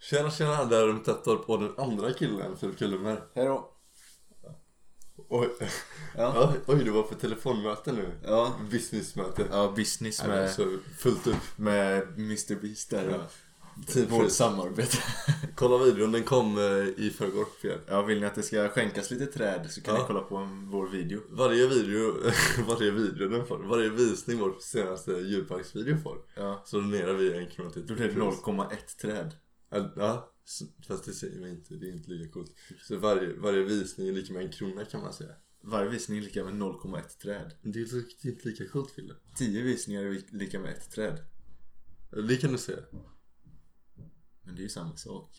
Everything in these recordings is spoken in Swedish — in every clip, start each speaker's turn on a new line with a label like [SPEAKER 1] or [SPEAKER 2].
[SPEAKER 1] Tjena tjena där runt Tättorp och den andra killen Filip Kullenberg.
[SPEAKER 2] Hejdå.
[SPEAKER 1] Oj,
[SPEAKER 2] Ja.
[SPEAKER 1] oj, oj, du var på telefonmöte nu.
[SPEAKER 2] Ja.
[SPEAKER 1] Businessmöte.
[SPEAKER 2] Ja, business
[SPEAKER 1] Nej, men
[SPEAKER 2] med,
[SPEAKER 1] Så fullt upp.
[SPEAKER 2] med Mr Beast där.
[SPEAKER 1] Ja.
[SPEAKER 2] Ja.
[SPEAKER 1] Typ
[SPEAKER 2] Vårt
[SPEAKER 1] fullt.
[SPEAKER 2] samarbete.
[SPEAKER 1] Kolla videon, den kom eh, i förrgår. igen.
[SPEAKER 2] Ja, vill ni att det ska skänkas lite träd så kan
[SPEAKER 1] Ja.
[SPEAKER 2] ni kolla på en, vår video.
[SPEAKER 1] Varje video, varje video den får, varje visning vår senaste djurparksvideo får.
[SPEAKER 2] Ja.
[SPEAKER 1] Så donerar vi en krona till
[SPEAKER 2] Då blir det 0,1 träd.
[SPEAKER 1] Ja, Ja, s- fast det säger man inte, det är inte lika coolt. Så varje, varje visning är lika med en krona kan man säga.
[SPEAKER 2] Varje visning är lika med 0,1 träd.
[SPEAKER 1] Men Det är li- det är inte lika coolt Fille.
[SPEAKER 2] 10 visningar är li- lika med ett träd.
[SPEAKER 1] Det kan du säga.
[SPEAKER 2] Men det är ju samma sak.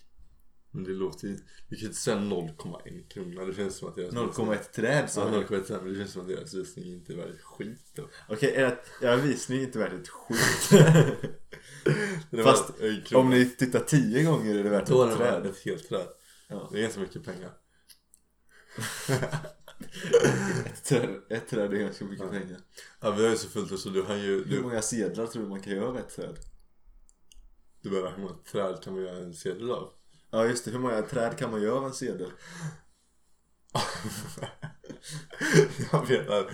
[SPEAKER 1] Men det låter ju... Du kan ju inte säga 0,1 krona. Det känns som att deras...
[SPEAKER 2] 0,1 träd
[SPEAKER 1] Ja,
[SPEAKER 2] sa du.
[SPEAKER 1] 0,1 men det känns som att deras visning inte är värd skit då.
[SPEAKER 2] Okej, är att- ja, en visning är inte värt ett skit.
[SPEAKER 1] Det
[SPEAKER 2] Fast
[SPEAKER 1] var en krona.
[SPEAKER 2] Om ni tittar 10 gånger är det värt
[SPEAKER 1] Då är
[SPEAKER 2] ett
[SPEAKER 1] det värt
[SPEAKER 2] träd.
[SPEAKER 1] ett helt träd.
[SPEAKER 2] Ja.
[SPEAKER 1] Det är ganska mycket pengar.
[SPEAKER 2] Ett träd, ett träd är ganska mycket pengar.
[SPEAKER 1] Ja, vi har ju så fullt upp så du har ju...
[SPEAKER 2] Hur
[SPEAKER 1] Du,
[SPEAKER 2] många sedlar tror du man kan göra av ett träd?
[SPEAKER 1] du bara, hur många träd kan man göra en sedel av?
[SPEAKER 2] Ja just det, hur många träd kan man göra av en sedel?
[SPEAKER 1] Jag menar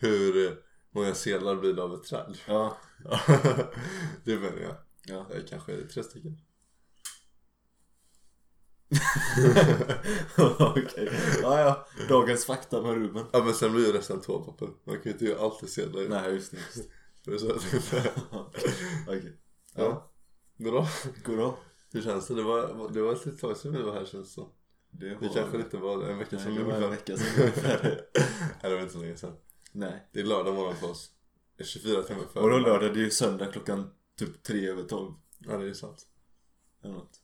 [SPEAKER 1] hur eh, många sedlar blir det av ett träd?
[SPEAKER 2] Ja,
[SPEAKER 1] det menar jag.
[SPEAKER 2] ja.
[SPEAKER 1] Eh, Kanske tre stycken.
[SPEAKER 2] okej. Ja, ja. Dagens fakta med Ruben.
[SPEAKER 1] Ja men sen blir ju resten toapapper. Man kan ju inte göra allt till sedlar.
[SPEAKER 2] Nej, just det. Just. det.
[SPEAKER 1] Det är så jag tänkte.
[SPEAKER 2] Okej.
[SPEAKER 1] Ja.
[SPEAKER 2] Ja,
[SPEAKER 1] Bra.
[SPEAKER 2] goddag.
[SPEAKER 1] Hur känns det? Det var, det var ett litet tag sedan vi var här känns det som.
[SPEAKER 2] Det
[SPEAKER 1] Det
[SPEAKER 2] var-
[SPEAKER 1] kanske inte var en vecka
[SPEAKER 2] Nej,
[SPEAKER 1] sedan
[SPEAKER 2] det var en
[SPEAKER 1] ungefär.
[SPEAKER 2] vecka sedan ungefär.
[SPEAKER 1] Nej det var inte så länge sedan.
[SPEAKER 2] Nej.
[SPEAKER 1] Det är lördag morgon för oss. Det är 24 timmar före.
[SPEAKER 2] Och då lördag, det är ju söndag klockan typ tre över tolv.
[SPEAKER 1] Ja det är sant.
[SPEAKER 2] Eller något.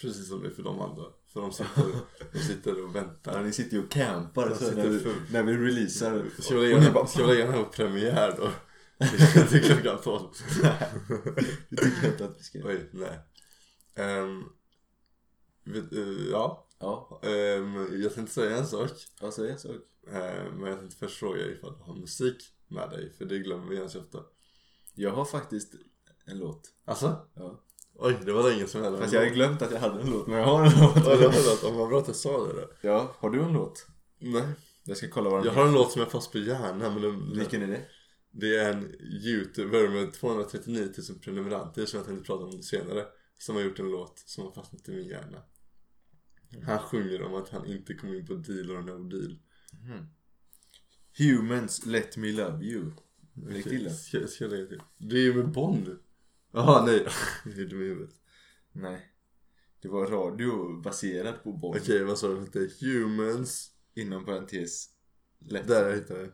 [SPEAKER 1] Precis som det är för de andra. För de sitter, de sitter och
[SPEAKER 2] Ja,
[SPEAKER 1] väntar.
[SPEAKER 2] ni sitter ju och campar
[SPEAKER 1] Jag
[SPEAKER 2] så när,
[SPEAKER 1] sitter
[SPEAKER 2] vi,
[SPEAKER 1] full.
[SPEAKER 2] när vi releasar.
[SPEAKER 1] Ska vi
[SPEAKER 2] Och ni
[SPEAKER 1] lägga,
[SPEAKER 2] bara,
[SPEAKER 1] ska vi lägga den här på premiär då? Till klockan 12.
[SPEAKER 2] det tycker jag inte att vi ska göra.
[SPEAKER 1] Oj, nej. Ehm, vet, eh, ja,
[SPEAKER 2] Ja,
[SPEAKER 1] Ehm, jag tänkte säga en sak.
[SPEAKER 2] ja, säg en sak.
[SPEAKER 1] Ehm, men jag tänkte först fråga ifall du har musik med dig. För det glömmer vi ganska ofta.
[SPEAKER 2] Jag har faktiskt en låt.
[SPEAKER 1] Alltså?
[SPEAKER 2] Ja.
[SPEAKER 1] Oj, det var länge som hände.
[SPEAKER 2] Fast jag har glömt att jag hade en låt, men jag har en
[SPEAKER 1] Ja, det var
[SPEAKER 2] låt.
[SPEAKER 1] det. Ja, Vad bra att jag sa det då.
[SPEAKER 2] Ja, har du en låt?
[SPEAKER 1] Nej.
[SPEAKER 2] Jag ska kolla vad den
[SPEAKER 1] Jag har en låt som är fast på hjärnan men den,
[SPEAKER 2] heter. Vilken är det?
[SPEAKER 1] det är en youtuber med 239 000 prenumeranter som jag tänkte prata om senare. Som har gjort en låt som har fastnat i min hjärna. Han sjunger om att han inte kom in på deal or no deal.
[SPEAKER 2] Humans Let Me Love You. Lägg till den.
[SPEAKER 1] Ska, ska jag lägga till? Det är ju med Bond. Jaha nej. Det är dum i huvudet.
[SPEAKER 2] Nej. Det var radio baserad på Bond.
[SPEAKER 1] Okej vad sa du? Det hette Humans.
[SPEAKER 2] Inom parentes. Let.
[SPEAKER 1] Där jag hittade den.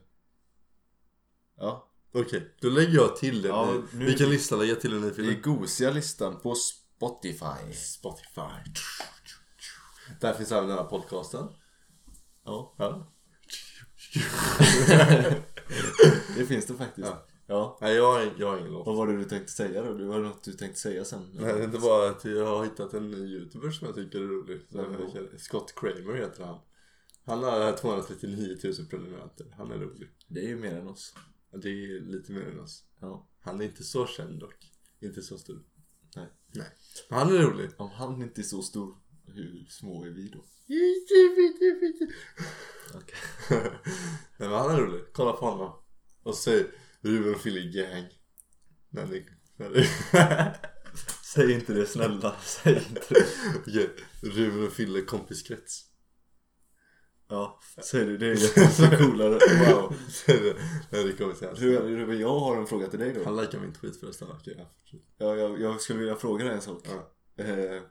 [SPEAKER 2] Ja.
[SPEAKER 1] Okej, då lägger jag till den.
[SPEAKER 2] Ja,
[SPEAKER 1] i-
[SPEAKER 2] nu-
[SPEAKER 1] Vilken lista lägger jag till den i
[SPEAKER 2] Det
[SPEAKER 1] filmen?
[SPEAKER 2] är gosiga listan på Spotify.
[SPEAKER 1] Spotify. Där finns även den här podcasten.
[SPEAKER 2] Ja.
[SPEAKER 1] Ja.
[SPEAKER 2] Det finns det faktiskt.
[SPEAKER 1] Ja.
[SPEAKER 2] Ja.
[SPEAKER 1] Nej, jag har, jag har ingen låt.
[SPEAKER 2] Vad var det du tänkte säga då? Det var något du tänkte säga sen.
[SPEAKER 1] Nej, det är inte bara att jag har hittat en ny youtuber som jag tycker är rolig. Som
[SPEAKER 2] Vem då?
[SPEAKER 1] heter- Scott Kramer heter han. Han har 239 000 prenumeranter. Han är rolig.
[SPEAKER 2] Det är ju mer än oss.
[SPEAKER 1] Ja, Det är lite mer än oss.
[SPEAKER 2] Ja.
[SPEAKER 1] Han är inte så känd dock. Inte så stor.
[SPEAKER 2] Nej.
[SPEAKER 1] Nej. Men han är rolig.
[SPEAKER 2] Om han inte är så stor, hur små är vi då? Okej.
[SPEAKER 1] Nej men han är rolig. Kolla på honom. Och säg Ruben och Fille Gang. När ni... När ni...
[SPEAKER 2] Säg inte det snälla, säg inte det.
[SPEAKER 1] Okej, Ruben och Fille kompiskrets.
[SPEAKER 2] Ja, säg det, det är jättemycket coolare. Wow.
[SPEAKER 1] Säg det när det kommer till hans.
[SPEAKER 2] Du, Ruben, jag har en fråga till dig då.
[SPEAKER 1] Han likar min tweet förresten. Okej, ja, fortsätt.
[SPEAKER 2] Jag, jag, jag skulle vilja fråga dig en sak.
[SPEAKER 1] Ja.
[SPEAKER 2] Eh,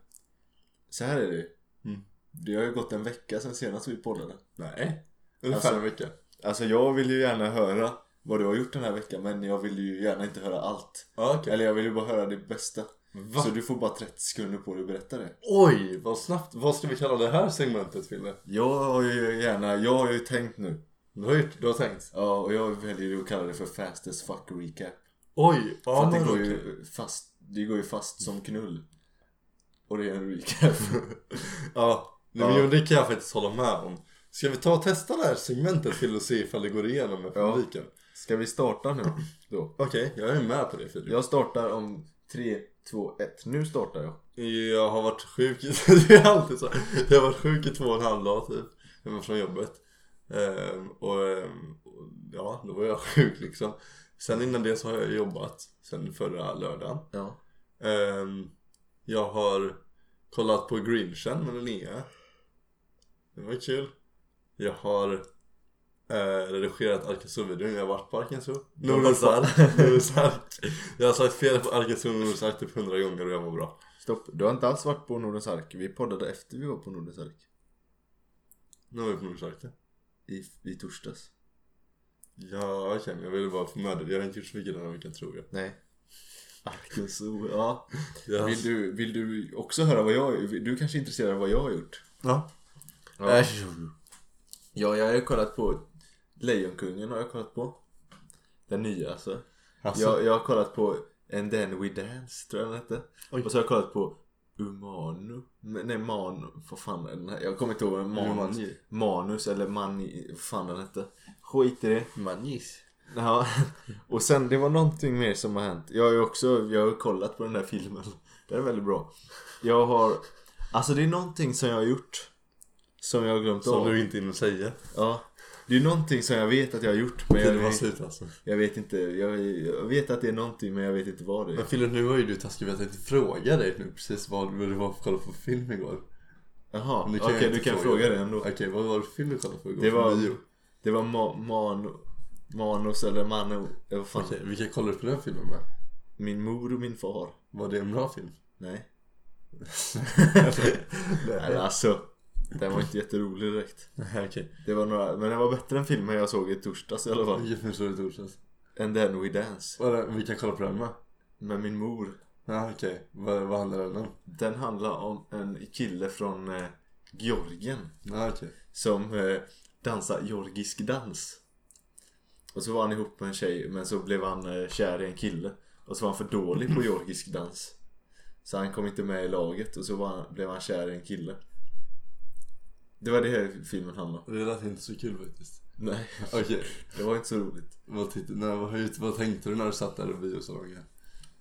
[SPEAKER 2] så här är det
[SPEAKER 1] Mm.
[SPEAKER 2] Det har ju gått en vecka sedan senast vi poddade.
[SPEAKER 1] Nej. Ungefär
[SPEAKER 2] Alltså-
[SPEAKER 1] en vecka.
[SPEAKER 2] Alltså jag vill ju gärna höra vad du har gjort den här veckan men jag vill ju gärna inte höra allt.
[SPEAKER 1] Ja, okej.
[SPEAKER 2] Eller jag vill ju bara höra det bästa.
[SPEAKER 1] Va?
[SPEAKER 2] Så du får bara 30 sekunder på dig att berätta det.
[SPEAKER 1] Oj, vad snabbt. Vad ska vi kalla det här segmentet, Fille?
[SPEAKER 2] Jag har ju gärna, jag har ju tänkt nu.
[SPEAKER 1] Du har, gjort, du har tänkt.
[SPEAKER 2] Ja, och jag väljer ju att kalla det för fast as fuck recap.
[SPEAKER 1] Oj,
[SPEAKER 2] För
[SPEAKER 1] ja
[SPEAKER 2] att det
[SPEAKER 1] men
[SPEAKER 2] går
[SPEAKER 1] okej.
[SPEAKER 2] ju fast, det går ju fast som knull. Och det är en recap.
[SPEAKER 1] Ja, nej, men
[SPEAKER 2] Ja.
[SPEAKER 1] jo, det kan jag faktiskt hålla med om. Ska vi ta och testa det här segmentet till och se ifall det går igenom med
[SPEAKER 2] Ja.
[SPEAKER 1] publiken?
[SPEAKER 2] Ska vi starta nu då?
[SPEAKER 1] Okej, jag är med på det Filip.
[SPEAKER 2] Jag startar om 3, 2, 1. Nu startar jag.
[SPEAKER 1] Jag har varit sjuk i... Det är alltid så. Jag har varit sjuk i två och en halv dag typ. Hemma från jobbet. Ehm, och, ehm, och ja, då var jag sjuk liksom. Sen innan det så har jag jobbat. Sen förra lördagen.
[SPEAKER 2] Ja.
[SPEAKER 1] Ehm, jag har kollat på Grinchen med Linnea. Det var kul. Jag har eh, redigerat Arkansas-videon. Jag har varit på Arkansas. Norosark. Norosark. Jag har sagt fel på Arkansas och Norosark typ hundra gånger och jag var bra.
[SPEAKER 2] Stopp. Du har inte alls varit på Nordens Ark. Vi poddade efter vi var på Nordens Ark.
[SPEAKER 1] Nu var vi på Norosark.
[SPEAKER 2] I, i torsdags.
[SPEAKER 1] Ja, jag känner. Jag ville bara få med det. Jag har inte gjort så mycket den här veckan tror jag.
[SPEAKER 2] Nej. Arkansas, ja.
[SPEAKER 1] jag
[SPEAKER 2] Vill du, vill du också höra vad jag Du kanske är intresserad av vad jag har gjort? Äh.
[SPEAKER 1] Ja.
[SPEAKER 2] Ja, ja jag har ju kollat på Lejonkungen har jag kollat på. Den nya alltså.
[SPEAKER 1] Alltså,
[SPEAKER 2] Jag, jag har kollat på And then we dance tror jag den hette.
[SPEAKER 1] Oj.
[SPEAKER 2] Och så har jag kollat på Umanu. Men- Nej Manu. Vad fan är den här? Jag kommer inte ihåg. vad Manus,
[SPEAKER 1] Umani.
[SPEAKER 2] manus eller Mani. Vad fan den hette. Skit i det.
[SPEAKER 1] Manis.
[SPEAKER 2] Ja. Och sen det var någonting mer som har hänt. Jag har ju också jag har kollat på den där filmen. Den är väldigt bra. Jag har. Alltså det är någonting som jag har gjort. Som jag har glömt
[SPEAKER 1] Som
[SPEAKER 2] av.
[SPEAKER 1] du inte hinner säga.
[SPEAKER 2] Ja. Det är någonting som jag vet att jag har gjort. Men
[SPEAKER 1] Tiden var
[SPEAKER 2] jag,
[SPEAKER 1] slut alltså.
[SPEAKER 2] jag vet inte. Jag, jag vet att det är någonting men jag vet inte vad det är.
[SPEAKER 1] Men Fille, nu var ju du taskig för att jag tänkte fråga dig nu precis vad du var för kolla på för film igår.
[SPEAKER 2] Jaha,
[SPEAKER 1] Men det
[SPEAKER 2] okej
[SPEAKER 1] kan jag
[SPEAKER 2] du
[SPEAKER 1] inte
[SPEAKER 2] kan
[SPEAKER 1] fråga.
[SPEAKER 2] fråga det ändå.
[SPEAKER 1] Okej, vad var det för film du kollade på igår?
[SPEAKER 2] Det var,
[SPEAKER 1] På bio?
[SPEAKER 2] det var ma- man, Manos eller Mano, eller vad fan.
[SPEAKER 1] Okej, vilka kollade du på den filmen med?
[SPEAKER 2] Min mor och min far.
[SPEAKER 1] Var det en bra film?
[SPEAKER 2] Nej. Nej alltså. Den var inte jätterolig direkt.
[SPEAKER 1] Nej, okej.
[SPEAKER 2] Det var några, men den var bättre än filmen jag såg i torsdags i alla fall.
[SPEAKER 1] Vilken film såg du i torsdags?
[SPEAKER 2] And then we dance.
[SPEAKER 1] Var det- Vilka kollade på den med?
[SPEAKER 2] Med min mor.
[SPEAKER 1] Ja, okej. Vad, vad handlade den om?
[SPEAKER 2] Den handlar om en kille från eh, Georgien.
[SPEAKER 1] Ja, okej.
[SPEAKER 2] Som eh, dansar georgisk dans. Och så var han ihop med en tjej men så blev han eh, kär i en kille. Och så var han för dålig på georgisk dans. Så han kom inte med i laget och så var han, blev han kär i en kille. Det var det här filmen handlade om.
[SPEAKER 1] Det lät inte så kul faktiskt.
[SPEAKER 2] Nej,
[SPEAKER 1] Okej,
[SPEAKER 2] det var inte så roligt.
[SPEAKER 1] vad, titt- när- vad, hur- vad tänkte du när du satt där i biosalongen?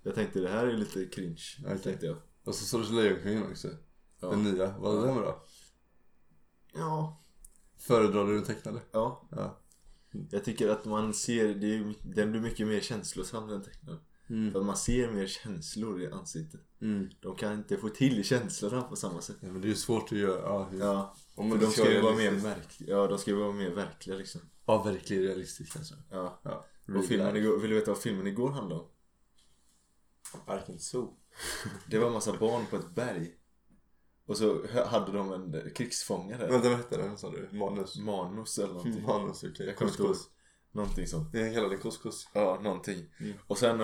[SPEAKER 2] Jag tänkte det här är lite cringe.
[SPEAKER 1] Okej.
[SPEAKER 2] Tänkte jag.
[SPEAKER 1] Och så såg du Lejonkungen också.
[SPEAKER 2] Ja.
[SPEAKER 1] Den nya. Var den bra?
[SPEAKER 2] Ja.
[SPEAKER 1] Föredrar du den tecknade?
[SPEAKER 2] ja.
[SPEAKER 1] Ja.
[SPEAKER 2] Jag tycker att man ser, det är, ju- den blir mycket mer känslosam den tecknaren.
[SPEAKER 1] Mm.
[SPEAKER 2] För man ser mer känslor i ansiktet.
[SPEAKER 1] Mm.
[SPEAKER 2] De kan inte få till känslorna på samma sätt.
[SPEAKER 1] Ja, men det är ju svårt att göra. Ja, hur-
[SPEAKER 2] Ja,
[SPEAKER 1] Om
[SPEAKER 2] men
[SPEAKER 1] det
[SPEAKER 2] de ska ju vara mer
[SPEAKER 1] realistiskt.
[SPEAKER 2] märk- ja, de ska ju vara mer verkliga liksom.
[SPEAKER 1] Ja, verkligen realistiskt kanske.
[SPEAKER 2] Ja.
[SPEAKER 1] Ja.
[SPEAKER 2] Och filmen igår, vill du veta vad filmen igår handlade om?
[SPEAKER 1] Arkansas.
[SPEAKER 2] Det var en massa barn på ett berg. Och så hö- hade de en eh, krigsfångare.
[SPEAKER 1] Vänta, vad hette den sa du? Manus?
[SPEAKER 2] Manus eller någonting.
[SPEAKER 1] Manus, okej.
[SPEAKER 2] Jag kommer inte ihåg.
[SPEAKER 1] Couscous.
[SPEAKER 2] Någonting sånt.
[SPEAKER 1] Ni kallar det couscous.
[SPEAKER 2] Ja, någonting.
[SPEAKER 1] Mm.
[SPEAKER 2] Och sen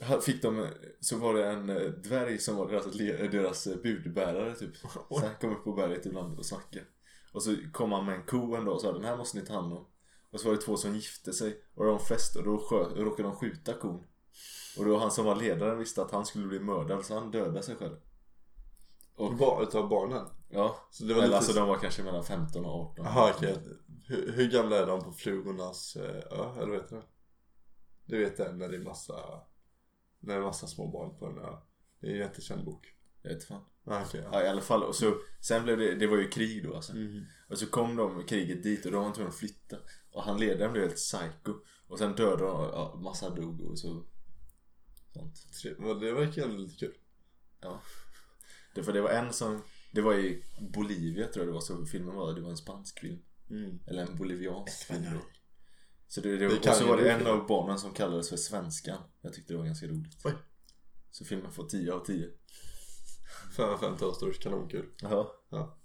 [SPEAKER 2] eh, fick de, så var det en eh, dvärg som var deras, le- deras eh, budbärare typ. Så han kom upp på berget ibland och snackade. Och så kom han med en ko en dag och sa den här måste ni ta hand om. Och så var det två som gifte sig och de fest och då skö- råkade de skjuta kon. Och då han som var ledaren visste att han skulle bli mördad så han dödade sig själv.
[SPEAKER 1] Och ba- utav barnen?
[SPEAKER 2] Ja,
[SPEAKER 1] Så det var
[SPEAKER 2] eller
[SPEAKER 1] lite...
[SPEAKER 2] alltså de var kanske mellan 15 och 18.
[SPEAKER 1] Jaha, okej. Hur, hur gamla är de på Flugornas eh, ö? Eller vad heter det? Du vet den när det är massa... När det är massa små barn på en ö. Det är en jättekänd bok.
[SPEAKER 2] Jag vet fan.
[SPEAKER 1] Ah, okej. ja.
[SPEAKER 2] Ja, i alla fall. Och så, sen blev det, det var ju krig då alltså.
[SPEAKER 1] Mm.
[SPEAKER 2] Och så kom de i kriget dit och de var tvungna att flytta. Och han ledaren blev helt psycho. Och sen dödade de, ja, massa dog och så... Sånt.
[SPEAKER 1] Tre- men Det verkar ändå lite kul.
[SPEAKER 2] Ja. Det, för det var en som, det var i Bolivia tror jag det var så filmen var. Det var en spansk film.
[SPEAKER 1] Mm.
[SPEAKER 2] Eller en boliviansk film. då. Så det, det,
[SPEAKER 1] Det kan
[SPEAKER 2] och så
[SPEAKER 1] ju
[SPEAKER 2] var
[SPEAKER 1] bli
[SPEAKER 2] det en
[SPEAKER 1] fel.
[SPEAKER 2] av barnen som kallades för Svenskan. Jag tyckte det var ganska roligt.
[SPEAKER 1] Oj.
[SPEAKER 2] Så filmen får 10 av 10.
[SPEAKER 1] 5 av 5 toasters, kanonkul.
[SPEAKER 2] Jaha.
[SPEAKER 1] Ja.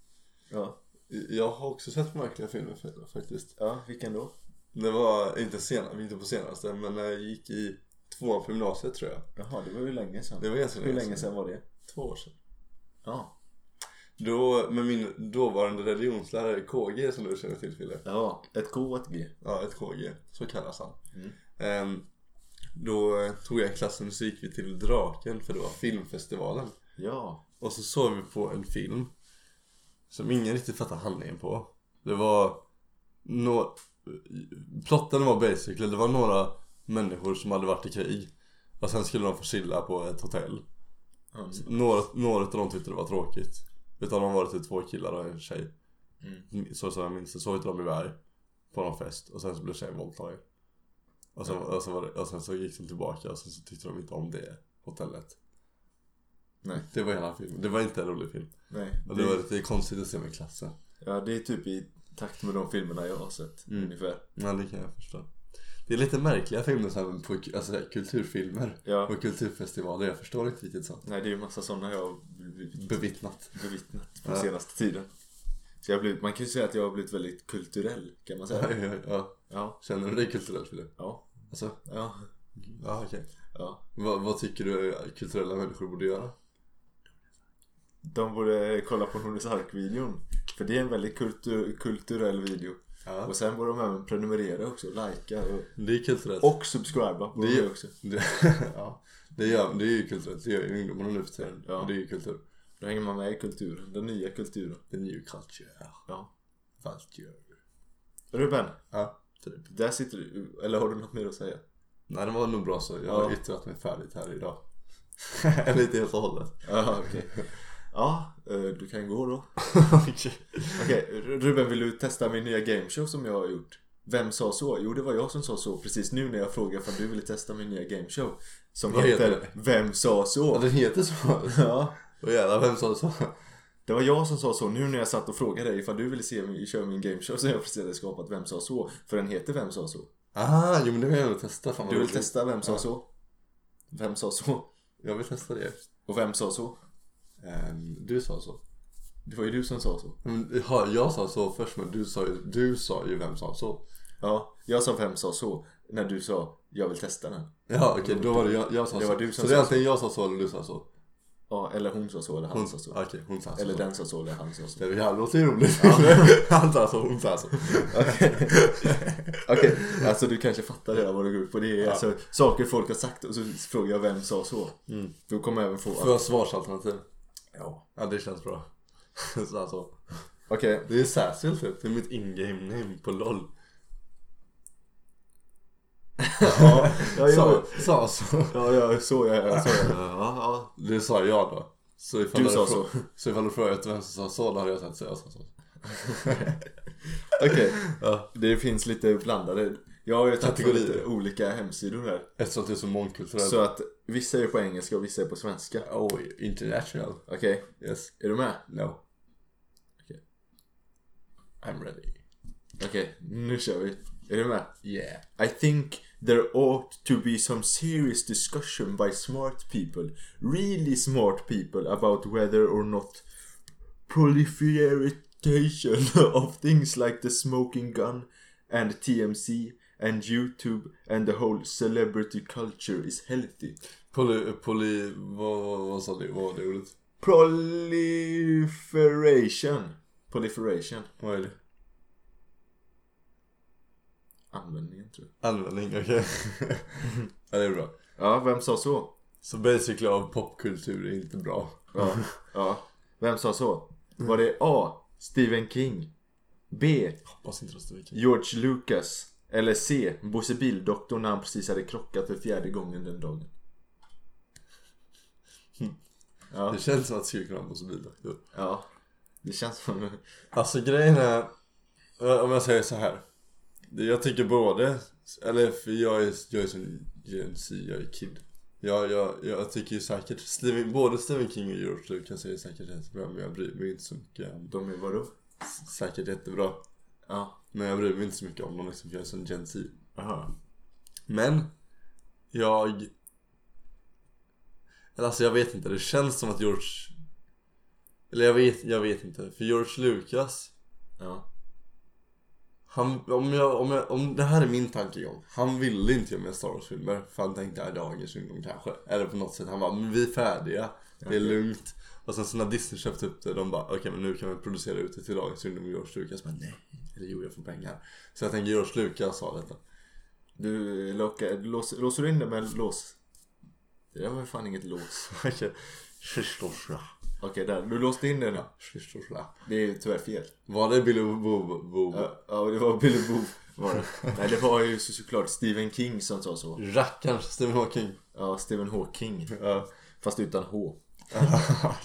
[SPEAKER 2] Ja.
[SPEAKER 1] Jag har också sett märkliga filmer för- faktiskt.
[SPEAKER 2] Ja, vilken då?
[SPEAKER 1] Det var inte, sen, inte på senaste, men när jag gick i tvåan på gymnasiet tror jag.
[SPEAKER 2] Jaha, det var ju länge sedan.
[SPEAKER 1] Det var ganska
[SPEAKER 2] Hur länge sedan var det?
[SPEAKER 1] Två år sedan.
[SPEAKER 2] Ja.
[SPEAKER 1] Då, med min dåvarande religionslärare KG som du känner till Fille.
[SPEAKER 2] Ja, ett K och ett G.
[SPEAKER 1] Ja, ett KG. Så kallas han.
[SPEAKER 2] Mm.
[SPEAKER 1] Ehm, då eh, tog jag klassen och så gick vi till Draken för det var filmfestivalen.
[SPEAKER 2] Ja.
[SPEAKER 1] Och så såg vi på en film Som ingen riktigt fattade handlingen på Det var några Plotten var basically Det var några människor som hade varit i krig Och sen skulle de få chilla på ett hotell
[SPEAKER 2] Mm.
[SPEAKER 1] Några, några av dem tyckte det var tråkigt. Utav dem var det typ två killar och en tjej. Så som jag minns det, så inte de blev arg. På någon fest och sen så blev tjejen våldtagen. Och sen,
[SPEAKER 2] Mm.
[SPEAKER 1] och, sen var det, och sen så gick de tillbaka och sen så tyckte de inte om det hotellet.
[SPEAKER 2] Nej.
[SPEAKER 1] Det var hela filmen. Det var inte en rolig film.
[SPEAKER 2] Nej.
[SPEAKER 1] Och det var lite konstigt att se med klassen.
[SPEAKER 2] Ja, det är typ i takt med de filmerna jag har sett.
[SPEAKER 1] Mm.
[SPEAKER 2] Ungefär.
[SPEAKER 1] Ja, det kan jag förstå. Det är lite märkliga filmer så här, på alltså, kulturfilmer
[SPEAKER 2] Ja.
[SPEAKER 1] och kulturfestivaler. Jag förstår inte riktigt sånt.
[SPEAKER 2] Nej, det är ju massa sådana jag har blivit
[SPEAKER 1] Bevittnat.
[SPEAKER 2] bevittnat på
[SPEAKER 1] Ja.
[SPEAKER 2] senaste tiden. Så jag har blivit, man kan ju säga att jag har blivit väldigt kulturell, kan man säga.
[SPEAKER 1] ja.
[SPEAKER 2] Ja.
[SPEAKER 1] Känner du dig kulturell Filip?
[SPEAKER 2] Ja.
[SPEAKER 1] Alltså,
[SPEAKER 2] Ja.
[SPEAKER 1] ja okej.
[SPEAKER 2] ja.
[SPEAKER 1] Vad, vad tycker du kulturella människor borde göra?
[SPEAKER 2] De borde kolla på Nordisk Ark-videon. För det är en väldigt kultu- kulturell video.
[SPEAKER 1] Ja.
[SPEAKER 2] Och sen borde de även prenumerera också, likea och,
[SPEAKER 1] Det är kulturellt.
[SPEAKER 2] och subscriba.
[SPEAKER 1] Det
[SPEAKER 2] Det
[SPEAKER 1] gör-
[SPEAKER 2] gör också.
[SPEAKER 1] Det, ja. det, gör, det är ju kulturellt. Det gör ju ungdomarna nu för tiden.
[SPEAKER 2] Ja.
[SPEAKER 1] Det är ju kultur.
[SPEAKER 2] Då hänger man med i kulturen, den nya kulturen.
[SPEAKER 1] The new culture.
[SPEAKER 2] Ja.
[SPEAKER 1] Culture.
[SPEAKER 2] Ruben,
[SPEAKER 1] Ja, typ.
[SPEAKER 2] där sitter du. Eller har du något mer att säga?
[SPEAKER 1] Nej, det var nog bra så. Jag har
[SPEAKER 2] Ja.
[SPEAKER 1] yttrat mig färdigt här idag. Eller inte helt och hållet.
[SPEAKER 2] Ja, okej. Ja, eh, du kan gå då.
[SPEAKER 1] Okej.
[SPEAKER 2] Okej, Ruben vill du testa min nya gameshow som jag har gjort? Vem sa så? Jo, det var jag som sa så precis nu när jag frågade om du ville testa min nya gameshow. Som
[SPEAKER 1] Vad heter
[SPEAKER 2] heter
[SPEAKER 1] det?
[SPEAKER 2] Vem sa
[SPEAKER 1] Ja,
[SPEAKER 2] så?
[SPEAKER 1] den heter så.
[SPEAKER 2] Ja,
[SPEAKER 1] Åh jävlar, vem sa så?
[SPEAKER 2] det var jag som sa så nu när jag satt och frågade dig ifall du ville se mig köra min gameshow som jag precis hade skapat Vem sa så? För den heter Vem sa så?
[SPEAKER 1] Ah, jo men det vill jag nog testa. Fan, vad
[SPEAKER 2] Du vill
[SPEAKER 1] roligt.
[SPEAKER 2] testa Vem sa
[SPEAKER 1] Ja.
[SPEAKER 2] så? Vem sa så?
[SPEAKER 1] Jag vill testa det.
[SPEAKER 2] Och vem sa så?
[SPEAKER 1] Ehm, du sa så.
[SPEAKER 2] Det var ju du som sa så.
[SPEAKER 1] Men, ja, jag sa så först men du sa ju, du sa ju vem sa så.
[SPEAKER 2] Ja, jag sa vem sa så när du sa jag vill testa den.
[SPEAKER 1] Ja okej, då var det jag, jag sa
[SPEAKER 2] Det
[SPEAKER 1] så.
[SPEAKER 2] var du som
[SPEAKER 1] så det är
[SPEAKER 2] sa
[SPEAKER 1] antingen jag sa så eller du sa så.
[SPEAKER 2] Ja, eller hon sa så eller han
[SPEAKER 1] Hon
[SPEAKER 2] sa så.
[SPEAKER 1] Okej, hon sa så.
[SPEAKER 2] Eller den sa så eller han sa så.
[SPEAKER 1] Det är jävla låter ju roligt. Han sa så, hon sa så.
[SPEAKER 2] Okej, alltså du kanske fattar redan vad det går ut på. Det är
[SPEAKER 1] Ja.
[SPEAKER 2] alltså saker folk har sagt och så frågar jag vem sa så.
[SPEAKER 1] Mm.
[SPEAKER 2] Då kommer jag även få...
[SPEAKER 1] Får jag svarsalternativ?
[SPEAKER 2] Ja.
[SPEAKER 1] Ja det känns bra. så alltså.
[SPEAKER 2] Okej,
[SPEAKER 1] Det är Sasil typ, det är mitt in-game name på LOL.
[SPEAKER 2] ja, ja,
[SPEAKER 1] Sa, sa
[SPEAKER 2] ja,
[SPEAKER 1] så.
[SPEAKER 2] ja, ja, så jag ja, så jag. Ja,
[SPEAKER 1] Det sa jag då. Så ifall
[SPEAKER 2] Du sa
[SPEAKER 1] frå- Så ifall du frågat vem som sa så, då hade jag sagt så. Jag sa så.
[SPEAKER 2] ja. Okej,
[SPEAKER 1] Ja.
[SPEAKER 2] det finns lite blandade. Jag har ju tagit på
[SPEAKER 1] Kategorier.
[SPEAKER 2] lite olika hemsidor här.
[SPEAKER 1] Eftersom det är så mångkulturellt.
[SPEAKER 2] Så att vissa är på engelska och vissa är på svenska.
[SPEAKER 1] Oh, international.
[SPEAKER 2] Okej,
[SPEAKER 1] Yes.
[SPEAKER 2] är du med?
[SPEAKER 1] No.
[SPEAKER 2] Okej.
[SPEAKER 1] I'm ready.
[SPEAKER 2] Okej, nu kör vi. Är du med?
[SPEAKER 1] Yeah.
[SPEAKER 2] I think there ought to be some serious discussion by smart people, really smart people, about whether or not proliferation of things like the smoking gun and TMC and YouTube and the whole celebrity culture is healthy.
[SPEAKER 1] Poly... poly vad, vad, vad sa du? Vad var det ordet?
[SPEAKER 2] Proliferation. Proliferation.
[SPEAKER 1] Vad är det?
[SPEAKER 2] Användningen tror jag.
[SPEAKER 1] Användning, okej. ja, det är bra.
[SPEAKER 2] Ja, vem sa så?
[SPEAKER 1] Så basically av popkultur är inte bra.
[SPEAKER 2] Ja, ja. Vem sa så? Var det A. Stephen King? B.
[SPEAKER 1] Hoppas inte Österrike.
[SPEAKER 2] George Lucas? Eller C. Bosse Bildoktorn när han precis hade krockat för fjärde gången den dagen? Ja,
[SPEAKER 1] Det känns som att det skulle kunna vara bilder.
[SPEAKER 2] ja. Det känns som...
[SPEAKER 1] Alltså grejen är, eh, om jag säger så här. Jag tycker både, eller för jag är, jag är som Gen Z, jag är kid. Jag, jag, jag tycker ju säkert, Stephen, både Stephen King och George Lucas är säkert jättebra men jag bryr mig inte så mycket om
[SPEAKER 2] De är vadå?
[SPEAKER 1] S- Säkert jättebra.
[SPEAKER 2] Ja.
[SPEAKER 1] Men jag bryr mig inte så mycket om dem liksom, för jag är som Gen Z.
[SPEAKER 2] Aha.
[SPEAKER 1] Men, jag... Eller alltså jag vet inte, det känns som att George... Eller jag vet, jag vet inte, för George Lucas
[SPEAKER 2] Ja.
[SPEAKER 1] Han, om, jag, om, jag, om det här är min tankegång. Han ville inte göra mer Star Wars-filmer för han tänkte "Ah, att dagens ungdom kanske. Eller på något sätt. Han bara, men vi är färdiga. Det är lugnt. Och sen så när Disney köpte upp det, de bara, okej men nu kan vi producera ut det till dagens ungdom. Och George Lucas bara, nej. Eller jo, jag får pengar. Så jag tänker George Lucas sa detta.
[SPEAKER 2] Du, locka, lås, låser du in det med lås? Det där var ju fan inget lås.
[SPEAKER 1] Okej. Shishtoshla.
[SPEAKER 2] Okej, där. Du låste in det nu.
[SPEAKER 1] Shishtoshla.
[SPEAKER 2] Det är ju tyvärr fel.
[SPEAKER 1] Var det Billy Bob Bob?
[SPEAKER 2] Ja, ja, det var Billy Boop var det. Nej, det var ju så, såklart Stephen King som sa så.
[SPEAKER 1] Rackarns Stephen Hawking.
[SPEAKER 2] Ja, Stephen Hawking.
[SPEAKER 1] Ja.
[SPEAKER 2] Fast utan H.
[SPEAKER 1] ja, ja.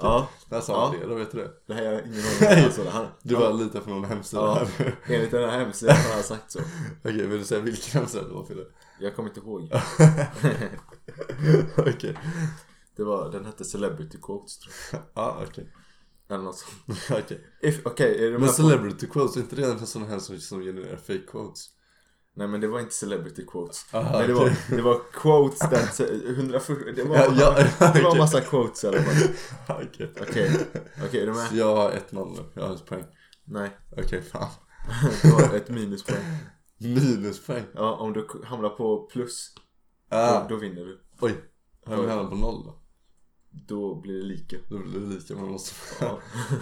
[SPEAKER 2] Ja,
[SPEAKER 1] Där sa
[SPEAKER 2] Ja.
[SPEAKER 1] han det, då vet du det.
[SPEAKER 2] det här är ingen aning om alltså, det här.
[SPEAKER 1] Du bara litar på någon hemsida
[SPEAKER 2] Ja.
[SPEAKER 1] här.
[SPEAKER 2] Enligt den här hemsidan har han sagt så.
[SPEAKER 1] Okej, vill du säga vilken hemsida det var Fille?
[SPEAKER 2] Jag kommer inte ihåg.
[SPEAKER 1] Okej.
[SPEAKER 2] Det var, den hette Celebrity Quotes tror
[SPEAKER 1] Ja, okej.
[SPEAKER 2] jag. Eller något sånt.
[SPEAKER 1] Okej.
[SPEAKER 2] If- Okej, är det
[SPEAKER 1] Men
[SPEAKER 2] med på?
[SPEAKER 1] celebrity quotes, är inte det en sån här som, som genererar fake quotes?
[SPEAKER 2] Nej men det var inte Celebrity Quotes.
[SPEAKER 1] Aha,
[SPEAKER 2] Nej, det,
[SPEAKER 1] okej.
[SPEAKER 2] var, det var quotes that... 140, det var,
[SPEAKER 1] Ja, ja,
[SPEAKER 2] det var
[SPEAKER 1] okej.
[SPEAKER 2] en massa quotes i alla fall.
[SPEAKER 1] Okej.
[SPEAKER 2] Okej, okej är du
[SPEAKER 1] Så
[SPEAKER 2] med?
[SPEAKER 1] jag har 1-0 nu, jag har ett poäng.
[SPEAKER 2] Nej,
[SPEAKER 1] Okej, fan.
[SPEAKER 2] det var ett minuspoäng.
[SPEAKER 1] Minuspoäng.
[SPEAKER 2] Ja, om du k- hamnar på plus,
[SPEAKER 1] Ah,
[SPEAKER 2] då, då vinner du.
[SPEAKER 1] oj. Har jag hamnat på noll då?
[SPEAKER 2] Då blir det lika.
[SPEAKER 1] Då blir det lika med oss.
[SPEAKER 2] Ja.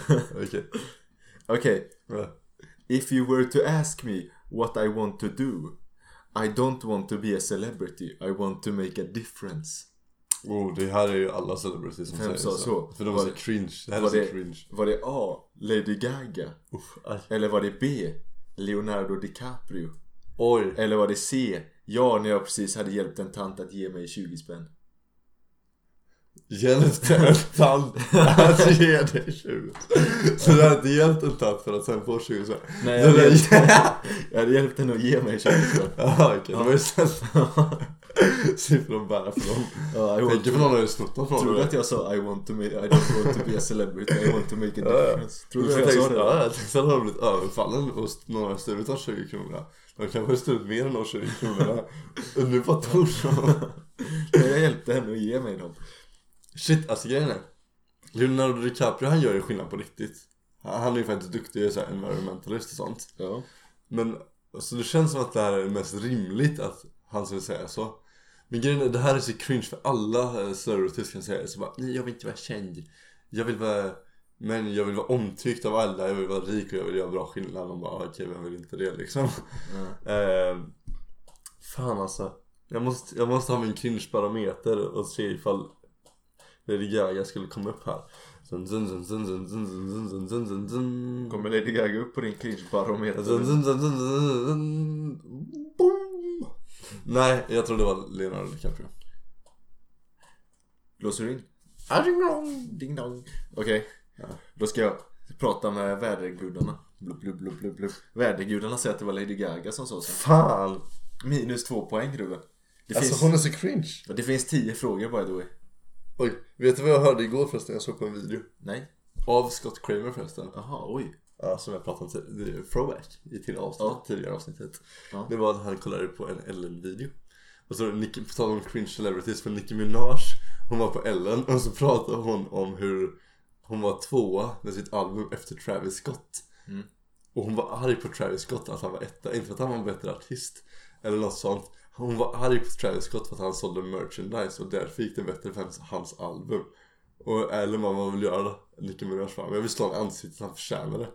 [SPEAKER 1] Okej.
[SPEAKER 2] Okej,
[SPEAKER 1] Bra.
[SPEAKER 2] if you were to ask me what I want to do I don't want to be a celebrity, I want to make a difference.
[SPEAKER 1] Oh, det här är ju alla celebrities som
[SPEAKER 2] Vem
[SPEAKER 1] säger
[SPEAKER 2] sa
[SPEAKER 1] så.
[SPEAKER 2] så?
[SPEAKER 1] För de var
[SPEAKER 2] Var
[SPEAKER 1] så
[SPEAKER 2] det-
[SPEAKER 1] cringe. Det här är
[SPEAKER 2] var
[SPEAKER 1] så
[SPEAKER 2] det-
[SPEAKER 1] cringe.
[SPEAKER 2] Var det A. Lady Gaga?
[SPEAKER 1] Uff, aj.
[SPEAKER 2] Eller var det B. Leonardo DiCaprio?
[SPEAKER 1] Oj.
[SPEAKER 2] Eller var det C. Ja, när jag precis hade hjälpt en tant att ge mig 20 spänn.
[SPEAKER 1] Hjälpte en tant att Alltså, ge dig 20. Så du har inte hjälpt en tant för att sen få 20 så.
[SPEAKER 2] Nej,
[SPEAKER 1] Det
[SPEAKER 2] jag,
[SPEAKER 1] där-
[SPEAKER 2] hjälpte, jag hade hjälpt henne att ge mig 20 spänn.
[SPEAKER 1] Jaha okej, det var ju snällt. Siffran bara för dem.
[SPEAKER 2] Ja, I
[SPEAKER 1] Jag
[SPEAKER 2] want
[SPEAKER 1] tänker på någon har ju snott dem från
[SPEAKER 2] Tror du
[SPEAKER 1] dig.
[SPEAKER 2] att jag sa I want to make, I don't want to be a celebrity, I want to make a
[SPEAKER 1] Ja, ja.
[SPEAKER 2] difference? Tror du att
[SPEAKER 1] jag
[SPEAKER 2] jag sa
[SPEAKER 1] tänkte,
[SPEAKER 2] det?
[SPEAKER 1] ja, jag tänkte att de har blivit överfallen och st- någon har stulit de 20 kronorna. De kanske har stulit mer än de 20 kronorna. Och nu bara tog de.
[SPEAKER 2] Men jag hjälpte henne att ge mig dem.
[SPEAKER 1] Shit, alltså grejen är. Leonardo DiCaprio han gör ju skillnad på riktigt. Han han är ju faktiskt duktig så här, environmentalist och sånt.
[SPEAKER 2] Ja.
[SPEAKER 1] Men alltså, det känns som att det här är mest rimligt att han skulle säga så. Men grejen är, det här är så cringe för alla eh, celebrities kan säga det. Så bara, nej jag vill inte vara känd. Jag vill vara, men jag vill vara omtyckt av alla. Jag vill vara rik och jag vill göra bra skillnad. Och bara, okej vem vill inte det liksom. Eh, fan alltså. Jag måste, jag måste ha min cringe-barometer och se ifall Lady Gaga skulle komma upp här. Zun, zun, zun, zun, zun, zun, zun, zun, zun, zun, zun.
[SPEAKER 2] Kommer Lady Gaga upp på din cringe-barometer?
[SPEAKER 1] Zun, zun, zun, zun, zun, zun. Boom. Nej, jag tror det var Leonardo DiCaprio.
[SPEAKER 2] Låser du in?
[SPEAKER 1] Ah, ding dong.
[SPEAKER 2] Ding dong. Okej. Då ska jag prata med vädergudarna. Blub, blub, blub, blub, blub. Vädergudarna säger att det var Lady Gaga som sa så.
[SPEAKER 1] Fan!
[SPEAKER 2] Minus två poäng Ruben. Det,
[SPEAKER 1] Alltså
[SPEAKER 2] finns,
[SPEAKER 1] hon är så cringe.
[SPEAKER 2] det finns tio frågor by the way.
[SPEAKER 1] Oj, vet du vad jag hörde igår förresten? Jag såg på en video.
[SPEAKER 2] Nej?
[SPEAKER 1] Av Scott Kramer förresten.
[SPEAKER 2] Jaha, oj.
[SPEAKER 1] Ja, som jag pratade om tidigare. Throwback i till avsnitt,
[SPEAKER 2] Ja.
[SPEAKER 1] tidigare avsnittet.
[SPEAKER 2] Ja.
[SPEAKER 1] Det var att han kollade på en Ellen-video. Och så Nicki, på tal om cringe celebrities, för Nicki Minaj Hon var på Ellen och så pratade hon om hur hon var tvåa med sitt album efter Travis Scott.
[SPEAKER 2] Mm.
[SPEAKER 1] Och hon var arg på Travis Scott att han var etta, inte för att han var en bättre artist eller något sånt. Hon var arg på Travis Scott för att han sålde merchandise och därför gick det bättre för hans- hans album. Och Ellen bara, vad vill du göra? Nicki Minaj bara, "Men jag vill slå honom i ansiktet, han förtjänar det.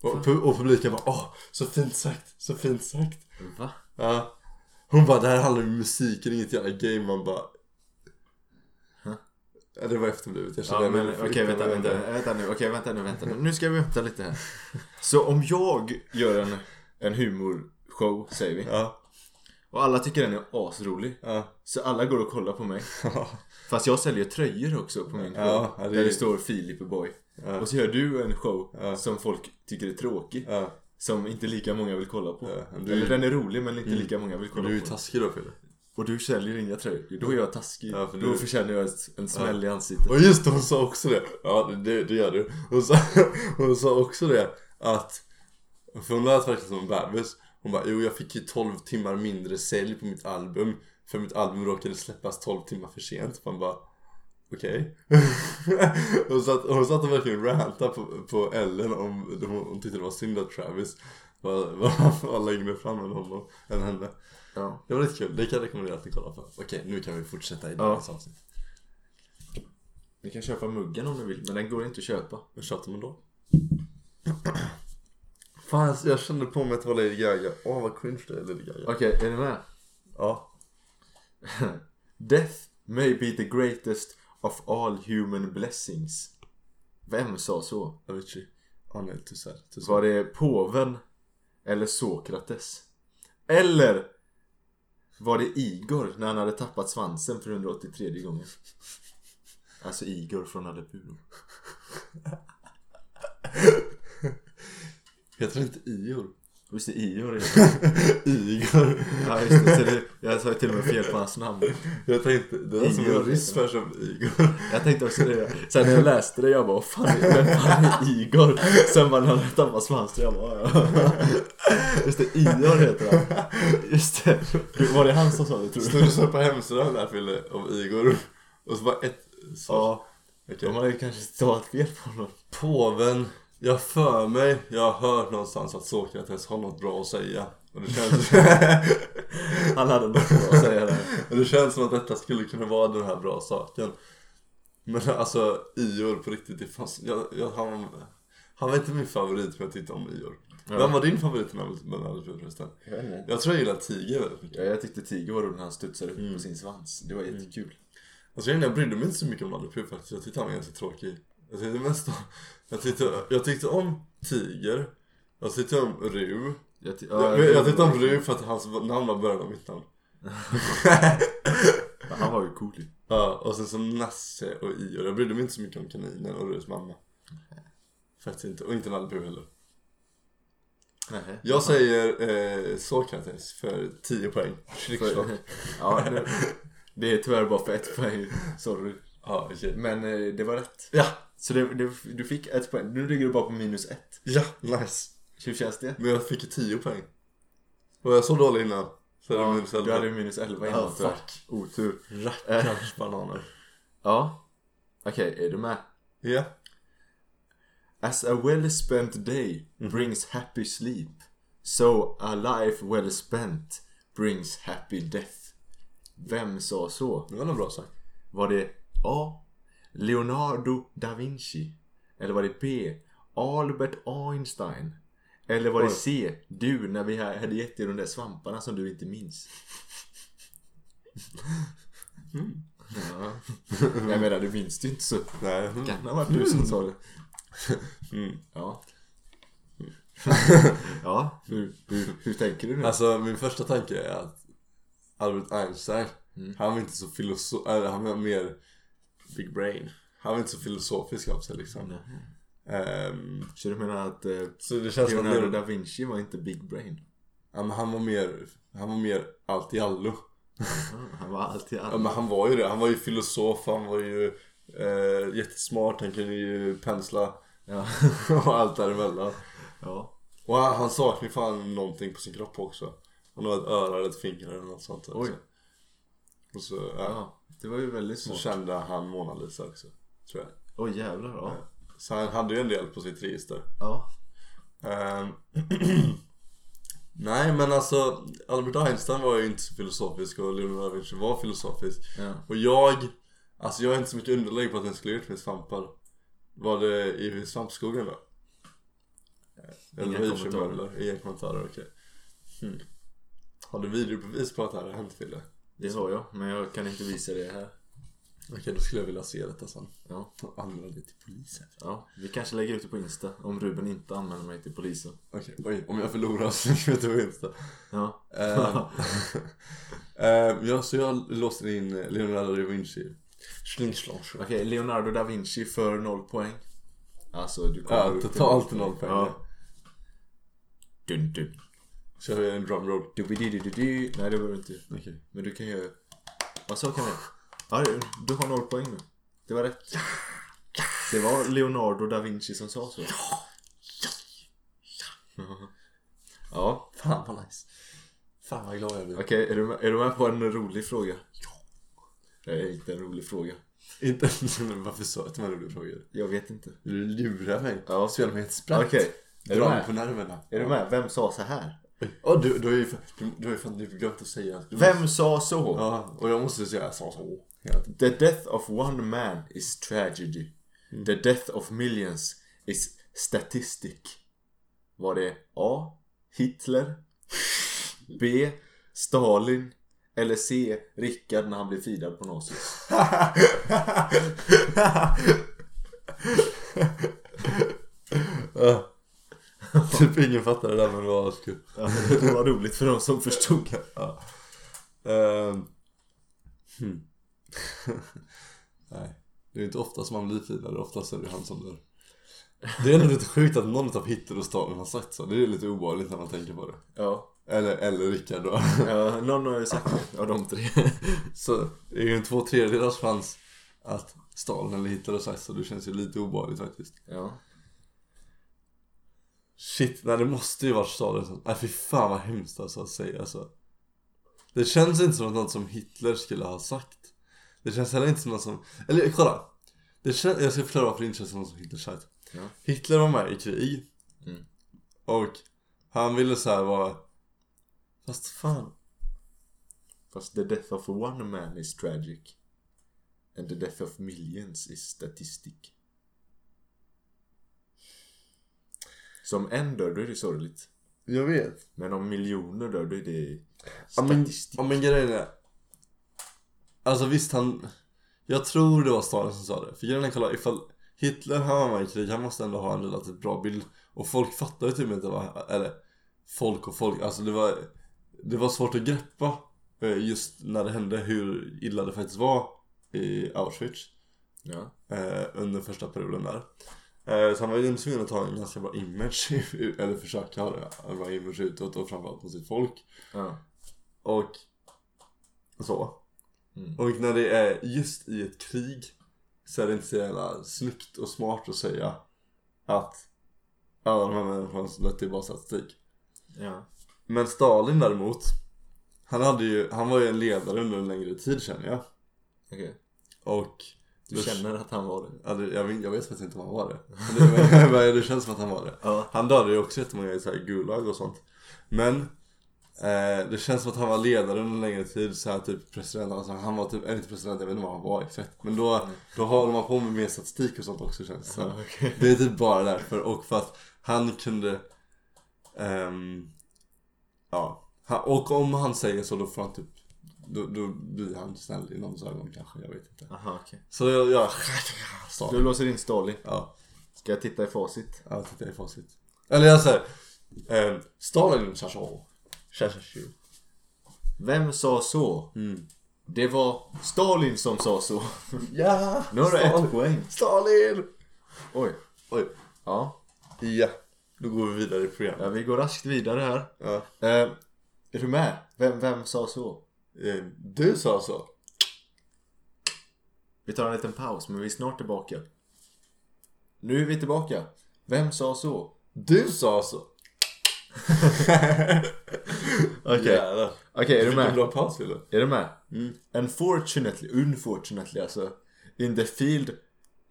[SPEAKER 1] Och, pu- och publiken bara, åh, så fint sagt, så fint sagt.
[SPEAKER 2] Va?
[SPEAKER 1] Ja. Hon bara, det här handlar om musiken, inget jävla game. Man bara...
[SPEAKER 2] Huh?
[SPEAKER 1] Ja, det var efterblivet. Jag
[SPEAKER 2] Ja,
[SPEAKER 1] jag
[SPEAKER 2] men
[SPEAKER 1] ville
[SPEAKER 2] okej,
[SPEAKER 1] flytta
[SPEAKER 2] vänta,
[SPEAKER 1] mig
[SPEAKER 2] vänta,
[SPEAKER 1] undan.
[SPEAKER 2] vänta nu, okej, vänta nu, vänta nu. Nu ska vi vänta lite här. Så om jag gör en, en humorshow, säger vi,
[SPEAKER 1] Ja,
[SPEAKER 2] och alla tycker den är asrolig,
[SPEAKER 1] ja.
[SPEAKER 2] så alla går och kollar på mig. Fast jag säljer tröjor också på min show,
[SPEAKER 1] Ja, ja, det är-
[SPEAKER 2] där det står Filip och Boy. Och så gör du en show som folk tycker är tråkig,
[SPEAKER 1] ja.
[SPEAKER 2] som inte lika många vill kolla på.
[SPEAKER 1] Ja, men du-
[SPEAKER 2] Eller den är rolig men inte lika många
[SPEAKER 1] Men
[SPEAKER 2] vill kolla
[SPEAKER 1] du är ju
[SPEAKER 2] på.
[SPEAKER 1] taskig då Pelle.
[SPEAKER 2] Och du säljer inga tröjor, då är jag taskig.
[SPEAKER 1] Ja, för
[SPEAKER 2] Då
[SPEAKER 1] du-
[SPEAKER 2] förtjänar jag ett- en smäll i ansiktet.
[SPEAKER 1] Och just det, hon sa också det. Ja, det, det gör du. Hon sa, hon sa också det att... För hon lät verkligen som en bebis. Hon bara, jo jag fick ju 12 timmar mindre sälj på mitt album. För mitt album råkade släppas 12 timmar för sent. Man bara, okej. hon, satt, hon satt och verkligen rantade på, på Ellen om hon, hon tyckte det var synd att Travis var, var, var längre fram än, honom, än henne.
[SPEAKER 2] Ja.
[SPEAKER 1] Det var lite kul, det kan jag rekommendera att ni kollar på. Okej, nu kan vi fortsätta i dagens avsnitt.
[SPEAKER 2] Ni kan köpa muggen om ni vill, men den går inte att köpa.
[SPEAKER 1] Vad tjatar man då? Fan, alltså, jag kände på mig att det var Lady Gaga. Åh, vad cringe det är Lady Gaga.
[SPEAKER 2] Okej, är ni med?
[SPEAKER 1] Ja.
[SPEAKER 2] Death may be the greatest of all human blessings. Vem sa så?
[SPEAKER 1] Avicii. Åh nej, Tussar. Tussar.
[SPEAKER 2] Var det påven eller Sokrates? Eller Var det Igor när han hade tappat svansen för 183 gången? Alltså Igor från Nalle Puh.
[SPEAKER 1] Heter det inte Ior?
[SPEAKER 2] Visst är Igor det?
[SPEAKER 1] Igor.
[SPEAKER 2] Ja just det, så det, jag sa ju till och med fel på hans namn.
[SPEAKER 1] Jag tänkte, det är som
[SPEAKER 2] Igor
[SPEAKER 1] en ryss
[SPEAKER 2] heter
[SPEAKER 1] som Igor.
[SPEAKER 2] Jag tänkte också det. Sen när jag läste det jag bara, "Åh, fan, vem fan är Igor? Sen bara när han tappade svansen, jag bara, "Ja, ja." Just det, Igor heter han. Just det. Du, Var det han som sa det tror
[SPEAKER 1] Stod
[SPEAKER 2] du?
[SPEAKER 1] det så på hemsidan där Fille, av Igor? Och så bara ett... Så.
[SPEAKER 2] Ja,
[SPEAKER 1] Okej.
[SPEAKER 2] de hade kanske stavat fel på honom.
[SPEAKER 1] Påven, jag för mig, jag har hört någonstans att Sokrates har något bra att säga. Och det känns,
[SPEAKER 2] Han hade något bra att säga där.
[SPEAKER 1] och det känns som att detta skulle kunna vara den här bra saken. Men alltså Ior på riktigt, det fanns, jag, jag, han, han var inte min favorit men jag tyckte om Ior. Vem var din favorit mellan mellan alla förresten?
[SPEAKER 2] Jag vet inte.
[SPEAKER 1] Jag tror jag gillade Tiger väldigt mycket.
[SPEAKER 2] Ja, jag tyckte Tiger var rolig när han studsade upp på
[SPEAKER 1] Mm.
[SPEAKER 2] sin svans. Det var jättekul.
[SPEAKER 1] Alltså jag brydde mig inte så mycket om Nalle Puh faktiskt. Jag tyckte han var ganska tråkig. Jag tyckte mest om... Jag tyckte, jag tyckte om Tiger. Jag tyckte om Ru.
[SPEAKER 2] Jag, ty- ja,
[SPEAKER 1] Jag, jag tyckte om Ru för att hans namn var början av mitt namn.
[SPEAKER 2] Han var ju cool ju.
[SPEAKER 1] Ja, och sen så Nasse och Ior. Jag brydde mig inte så mycket om kaninen och Rus mamma. Faktiskt inte. Och inte Nalle Puh heller.
[SPEAKER 2] Nähä.
[SPEAKER 1] Jag säger eh, Sokrates för 10 poäng. Schlickschlack.
[SPEAKER 2] För- Ja, nu, det är tyvärr bara för ett poäng. Sorry.
[SPEAKER 1] Ja, okej.
[SPEAKER 2] Men eh, det var rätt.
[SPEAKER 1] Ja,
[SPEAKER 2] Så det, det, du fick ett poäng. Nu ligger du bara på minus ett.
[SPEAKER 1] ja, nice.
[SPEAKER 2] Hur känns det?
[SPEAKER 1] Men jag fick ju 10 poäng. Var jag så dålig innan? Så är det minus
[SPEAKER 2] Du
[SPEAKER 1] elva.
[SPEAKER 2] hade ju minus 11 innan
[SPEAKER 1] Ja,
[SPEAKER 2] tyvärr.
[SPEAKER 1] fuck.
[SPEAKER 2] Otur.
[SPEAKER 1] Rackarns bananer.
[SPEAKER 2] Ja. Okej, är du med?
[SPEAKER 1] Ja.
[SPEAKER 2] As a well spent day brings happy sleep. So a life well spent brings happy death. Vem sa så?
[SPEAKER 1] Det var nog bra sagt.
[SPEAKER 2] Var det A. Leonardo da Vinci? Eller var det B. Albert Einstein? Eller var det
[SPEAKER 1] Oj.
[SPEAKER 2] C. Du när vi hade gett dig de där svamparna som du inte minns? Ja. Jag menar, du minns det ju inte så.
[SPEAKER 1] Nej.
[SPEAKER 2] Det kan ha varit du som sa det.
[SPEAKER 1] Mm.
[SPEAKER 2] Ja. Ja, hur, hur, hur tänker du nu?
[SPEAKER 1] Alltså min första tanke är att Albert Einstein, han var inte så filosof, eller han var mer Mm. big brain. Han var inte så filosofisk av sig liksom. Ehm,
[SPEAKER 2] Så du menar att eh,
[SPEAKER 1] så det känns som att
[SPEAKER 2] Leonardo
[SPEAKER 1] Leonardo-
[SPEAKER 2] da Vinci var inte big brain?
[SPEAKER 1] ja, men han var mer, han var mer allt i allo.
[SPEAKER 2] Ah, Han var alltid
[SPEAKER 1] Ja, men
[SPEAKER 2] arg.
[SPEAKER 1] han var ju det, han var ju filosof, han var ju eh, jättesmart, han kunde ju pensla
[SPEAKER 2] Ja.
[SPEAKER 1] och allt däremellan.
[SPEAKER 2] ja.
[SPEAKER 1] Och han, han saknar ju fan någonting på sin kropp också. Han har ett öra eller ett finger eller något sånt.
[SPEAKER 2] Oj.
[SPEAKER 1] Och så, ja.
[SPEAKER 2] Ja, det var ju väldigt
[SPEAKER 1] Så
[SPEAKER 2] smart.
[SPEAKER 1] kände han Mona Lisa också, tror jag.
[SPEAKER 2] Åh jävlar, ja.
[SPEAKER 1] Så han hade ju en del på sitt register.
[SPEAKER 2] ja.
[SPEAKER 1] Ehm, Nej men alltså Albert Einstein var ju inte så filosofisk och Leonardo da Vinci var filosofisk.
[SPEAKER 2] Ja.
[SPEAKER 1] Och jag, alltså jag har inte så mycket underlägg på att den skulle gjort med svampar. Var det i svampskogen då? Eller
[SPEAKER 2] Inga
[SPEAKER 1] Inga
[SPEAKER 2] kommentarer.
[SPEAKER 1] kommentarer. Inga kommentarer, okej. Hmm. Har du videobevis på att det här har hänt Fille?
[SPEAKER 2] Det har jag, men jag kan inte visa det här.
[SPEAKER 1] Okej, då skulle jag vilja se detta sen.
[SPEAKER 2] Ja.
[SPEAKER 1] Och anmäla det till polisen.
[SPEAKER 2] ja. Vi kanske lägger ut det på Insta om Ruben inte anmäler mig till polisen.
[SPEAKER 1] Okej, oj, om jag förlorar så vet jag vad jag inte.
[SPEAKER 2] Ja.
[SPEAKER 1] Ehm,
[SPEAKER 2] Eh,
[SPEAKER 1] ehm, ja, så jag låste in Leonardo da Vinci. Slingslonge.
[SPEAKER 2] Okej, Leonardo da Vinci för noll poäng. Alltså, du kommer
[SPEAKER 1] Ja,
[SPEAKER 2] upp till
[SPEAKER 1] totalt noll poäng.
[SPEAKER 2] Ja. Dun, dun.
[SPEAKER 1] Kör vi en drumroll.
[SPEAKER 2] Du, du, du, du, du. Nej, det behöver du inte.
[SPEAKER 1] Okej.
[SPEAKER 2] Men du kan ju... Vad sa kan jag? Ja, du- du har noll poäng nu. Det var rätt. Det var Leonardo da Vinci som sa så. Ja,
[SPEAKER 1] Fan vad nice. Fan vad glad jag blir.
[SPEAKER 2] okej. Är, du med- är du med på en rolig fråga? Det är inte en rolig fråga.
[SPEAKER 1] Inte varför sa jag att det var en rolig fråga?
[SPEAKER 2] Jag vet inte.
[SPEAKER 1] Du lurar mig.
[SPEAKER 2] Ja.
[SPEAKER 1] Spelar mig ett spratt.
[SPEAKER 2] Okej, är du
[SPEAKER 1] Dra mig
[SPEAKER 2] med?
[SPEAKER 1] på nerverna.
[SPEAKER 2] Är du med? Vem sa så här?
[SPEAKER 1] Ja, du, du har ju fan- du, du har ju fan du glömt att säga. att du-
[SPEAKER 2] Vem sa så?
[SPEAKER 1] Ja, och jag måste säga så så. hela tiden.
[SPEAKER 2] The death of one man is tragedy.
[SPEAKER 1] Mm.
[SPEAKER 2] The death of millions is statistic. Var det A. Hitler? B. Stalin? Eller C. Rickard när han blev fidad på Nasus?
[SPEAKER 1] Ja. Typ ingen fattade det där men det var askul.
[SPEAKER 2] det var roligt för de som förstod.
[SPEAKER 1] Ja. Ehm. Hmm. Nej, det är inte ofta som man blir finare, oftast är det han som blir. Det är ändå lite sjukt att någon av Hitler och Stalin har sagt så. Det är lite obehagligt när man tänker på det.
[SPEAKER 2] Ja.
[SPEAKER 1] Eller, eller Rickard då.
[SPEAKER 2] ja, någon har ju sagt det av de tre.
[SPEAKER 1] Så det är ju en två tredjedelars chans att Stalin eller Hitler har sagt så. Det känns ju lite obehagligt faktiskt.
[SPEAKER 2] Ja.
[SPEAKER 1] Shit, nej det måste ju varit Stalin som... Nej fy fan vad hemskt alltså att säga så. Det känns inte som något som Hitler skulle ha sagt. Det känns heller inte som något som... Eller kolla! Det kän... Jag ska förklara varför det inte känns som något som Hitler sagt.
[SPEAKER 2] Ja.
[SPEAKER 1] Hitler var med i krig.
[SPEAKER 2] Mm.
[SPEAKER 1] Och han ville så här vara... Fast fan.
[SPEAKER 2] Fast the death of one man is tragic. And the death of millions is statistic. Så om en dör, då är det sorgligt.
[SPEAKER 1] Jag vet.
[SPEAKER 2] Men om miljoner dör, då är det
[SPEAKER 1] Ja men,
[SPEAKER 2] statistik.
[SPEAKER 1] ja men grejen är Alltså visst han Jag tror det var Stalin som sa det För grejen är kolla ifall Hitler han var med i krig Han måste ändå ha en relativt bra bild Och folk fattade typ inte vad Eller folk och folk Alltså det var Det var svårt att greppa eh, Just när det hände hur illa det faktiskt var I Auschwitz
[SPEAKER 2] Ja.
[SPEAKER 1] eh, under första perioden där. Eh, så han var ju tvungen att ta en ganska bra image, eller försöka ha det, en bra image utåt och framförallt mot sitt folk.
[SPEAKER 2] ja.
[SPEAKER 1] Och så.
[SPEAKER 2] Mm.
[SPEAKER 1] Och när det är just i ett krig så är det inte så jävla snyggt och smart att säga att alla de här människorna som dött är bara statistik.
[SPEAKER 2] Ja.
[SPEAKER 1] Men Stalin däremot, han, hade ju, han var ju en ledare under en längre tid känner jag.
[SPEAKER 2] Okej.
[SPEAKER 1] Och
[SPEAKER 2] Du känner att han var det?
[SPEAKER 1] Ja, det- jag, vet- jag vet faktiskt inte om han var det. Men det, men det känns som att han var det.
[SPEAKER 2] Ja.
[SPEAKER 1] Han dödade ju också jättemånga i så här Gulag och sånt. Men eh, det känns som att han var ledare under en längre tid. Så här, typ president, alltså, han var typ, eller inte president, jag vet inte vad han var exakt. Men då, då håller man på med mer statistik och sånt också känns det som.
[SPEAKER 2] Ja, okej.
[SPEAKER 1] Det är typ bara därför och för att han kunde ehm, Ja han, Och om han säger så då får han typ Då, då blir han snäll i någons ögon kanske, jag vet inte
[SPEAKER 2] Aha, okej.
[SPEAKER 1] Så jag, jag sa
[SPEAKER 2] Du låser in Stalin.
[SPEAKER 1] Ja,
[SPEAKER 2] Ska jag titta i facit?
[SPEAKER 1] jag tittar i facit Eller jag säger ehm, Stalin Chachao Chachao
[SPEAKER 2] Vem sa så?
[SPEAKER 1] Mm.
[SPEAKER 2] Det var Stalin som sa så.
[SPEAKER 1] Ja!
[SPEAKER 2] Nu har du ett
[SPEAKER 1] Stalin.
[SPEAKER 2] poäng.
[SPEAKER 1] Stalin!
[SPEAKER 2] Oj.
[SPEAKER 1] Oj,
[SPEAKER 2] Ja.
[SPEAKER 1] ja Då går vi vidare i programmet
[SPEAKER 2] ja, vi går raskt vidare här.
[SPEAKER 1] ja.
[SPEAKER 2] Eh, är du med? Vem, vem sa så?
[SPEAKER 1] eh, Du sa så
[SPEAKER 2] Vi tar en liten paus, men vi är snart tillbaka. Nu är vi tillbaka. Vem sa så?
[SPEAKER 1] Du sa så
[SPEAKER 2] Okej,
[SPEAKER 1] Jävlar.
[SPEAKER 2] Okej, är du
[SPEAKER 1] Vilken
[SPEAKER 2] med?
[SPEAKER 1] bra paus Wille.
[SPEAKER 2] Är du med?
[SPEAKER 1] Mm.
[SPEAKER 2] Unfortunately, unfortunately alltså. In the field...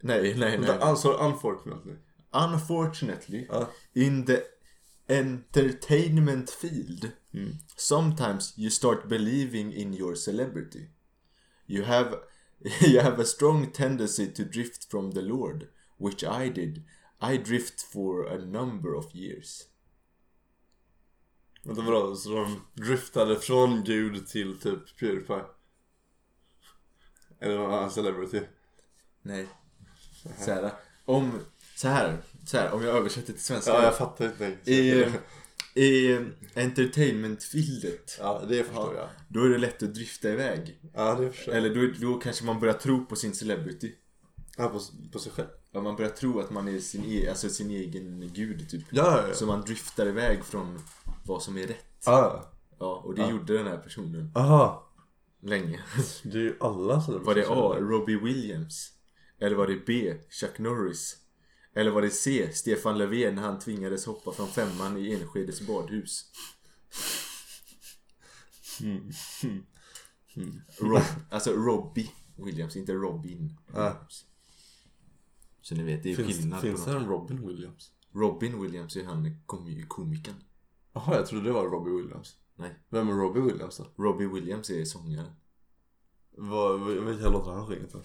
[SPEAKER 2] Nej, nej, nej.
[SPEAKER 1] Vänta, alltså, Sa du unfortunately?
[SPEAKER 2] Unfortunately,
[SPEAKER 1] Ja.
[SPEAKER 2] in the entertainment field,
[SPEAKER 1] Mm.
[SPEAKER 2] sometimes you start believing in your celebrity. You have you have a strong tendency to drift from the Lord, which I did. I drift for a number of years.
[SPEAKER 1] Vänta vadå? Så de driftade från gud till typ Pewdiepie? Eller någon annan celebrity?
[SPEAKER 2] Nej. Så här, om, så här, så här, om jag översätter till svenska.
[SPEAKER 1] Ja jag fattar inte
[SPEAKER 2] I, i entertainment-fieldet,
[SPEAKER 1] Ja det förstår jag
[SPEAKER 2] då är det lätt att drifta iväg.
[SPEAKER 1] Ja det förstår jag
[SPEAKER 2] Eller då, då kanske man börjar tro på sin celebrity.
[SPEAKER 1] Ja på, på sig själv
[SPEAKER 2] Ja, man börjar tro att man är sin, e- alltså sin egen gud typ.
[SPEAKER 1] Ja ja
[SPEAKER 2] Så man driftar iväg från vad som är rätt.
[SPEAKER 1] ja
[SPEAKER 2] Ja, och det gjorde den här personen
[SPEAKER 1] Ah. Aha
[SPEAKER 2] länge.
[SPEAKER 1] Det är ju alla celebrity
[SPEAKER 2] Var det A. Robbie Williams? Eller var det B. Chuck Norris? Eller var det C. Stefan Löfven när han tvingades hoppa från femman i Enskedes badhus?
[SPEAKER 1] Hmm.
[SPEAKER 2] Rob, alltså Robbie Williams, inte Robin Williams. Så ni vet, det är
[SPEAKER 1] Ah. Finns,
[SPEAKER 2] skillnad
[SPEAKER 1] finns
[SPEAKER 2] på
[SPEAKER 1] det
[SPEAKER 2] dem.
[SPEAKER 1] en Robin Williams?
[SPEAKER 2] Robin Williams är han kom, komikern.
[SPEAKER 1] Jaha jag trodde det var Robbie Williams
[SPEAKER 2] Nej.
[SPEAKER 1] Vem är Robbie Williams då?
[SPEAKER 2] Robbie Williams är sångaren.
[SPEAKER 1] Vad, vilka låtar han sjunger till?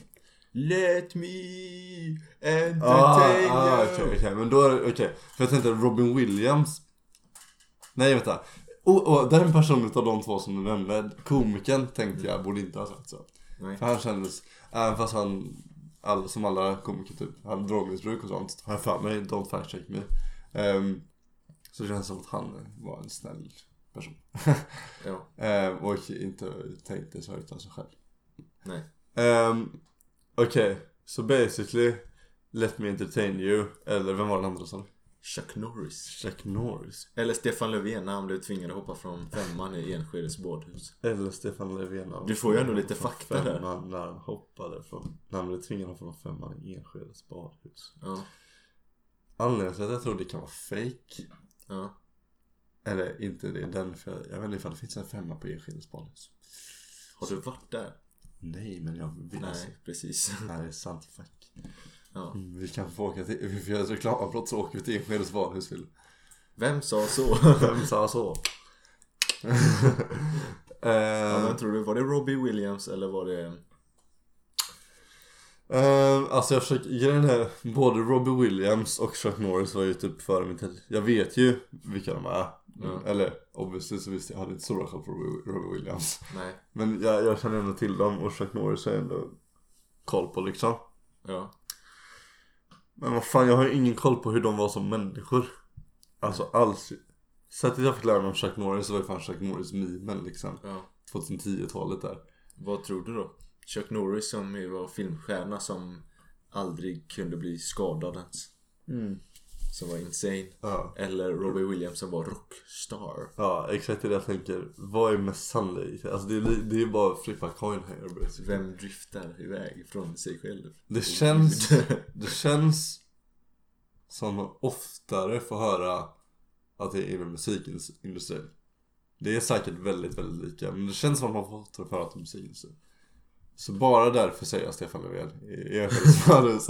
[SPEAKER 2] Let me entertain
[SPEAKER 1] Ah,
[SPEAKER 2] you.
[SPEAKER 1] ah, okej, okej, men då är det, okej. För jag tänkte Robin Williams. Nej, vänta. Oh, oh, den personen utav de två som du nämnde, komikern tänkte jag borde inte ha sagt så.
[SPEAKER 2] Nej.
[SPEAKER 1] För han kändes, även fast han, all, som alla komiker typ, hade drogmissbruk och sånt. Har jag för mig, don't fact check me. Ehm, så känns det som att han var en snäll person.
[SPEAKER 2] Ja.
[SPEAKER 1] Ehm, och inte tänkte så utan sig själv.
[SPEAKER 2] Nej.
[SPEAKER 1] Ehm, Okej, så basically Let me entertain you. Eller vem var den andra som?
[SPEAKER 2] Chuck Norris.
[SPEAKER 1] Jack Norris.
[SPEAKER 2] Eller Stefan Löfven när han blev tvingad att hoppa från femman i Enskedes bådhus.
[SPEAKER 1] Eller Stefan Löfven.
[SPEAKER 2] Du får ju ändå lite fakta där.
[SPEAKER 1] Femman när han hoppade från... När han blev tvingad från femman i Enskedes badhus.
[SPEAKER 2] Ja.
[SPEAKER 1] Anledningen till att jag tror det kan vara fake
[SPEAKER 2] Ja.
[SPEAKER 1] Eller inte det, den för jag vet inte ifall det finns en femma på Enskedes badhus.
[SPEAKER 2] Har du varit där?
[SPEAKER 1] Nej men jag vill alltså.
[SPEAKER 2] Nej, precis.
[SPEAKER 1] Nej det är sant, fuck. Mm,
[SPEAKER 2] Ja.
[SPEAKER 1] Vi kan få åka till, vi får göra ett reklamavbrott så åker vi till Enskedes badhus vill
[SPEAKER 2] Vem sa så?
[SPEAKER 1] Vem sa så? Eh,
[SPEAKER 2] Ja, men tror du, var det Robbie Williams eller var det...
[SPEAKER 1] eh, alltså jag försöker, grejen är både Robbie Williams och Chuck Norris var ju typ före min tid. Jag vet ju vilka de är.
[SPEAKER 2] Ja.
[SPEAKER 1] Eller obviously så visste jag, jag hade inte så bra koll på Robbie, Robbie Williams.
[SPEAKER 2] Nej.
[SPEAKER 1] Men jag, jag känner ändå till dem och Chuck Norris har jag ändå koll på liksom.
[SPEAKER 2] Ja.
[SPEAKER 1] Men vad fan, jag har ju ingen koll på hur de var som människor. Alltså alls. Sättet jag fick lära mig om Chuck Norris var ju fan Chuck Norris-memen liksom.
[SPEAKER 2] ja.
[SPEAKER 1] 2010-talet där.
[SPEAKER 2] Vad tror du då? Chuck Norris som ju var filmstjärna som aldrig kunde bli skadad ens.
[SPEAKER 1] Mm.
[SPEAKER 2] Som var insane.
[SPEAKER 1] Ja.
[SPEAKER 2] Eller Robbie Williams som var rockstar.
[SPEAKER 1] Ja, exakt det jag tänker. Vad är mest sannolikt? Alltså det är, li- det är ju bara att flippa coin här. basically.
[SPEAKER 2] Vem driftar iväg från sig själv?
[SPEAKER 1] Det känns, det känns som man oftare får höra att det är inom musikindustrin. Det är säkert väldigt, väldigt lika. Men det känns som att man får oftare får höra att det är musikindustrin. Så bara därför säger jag Stefan Löfven i Enskildes förhus.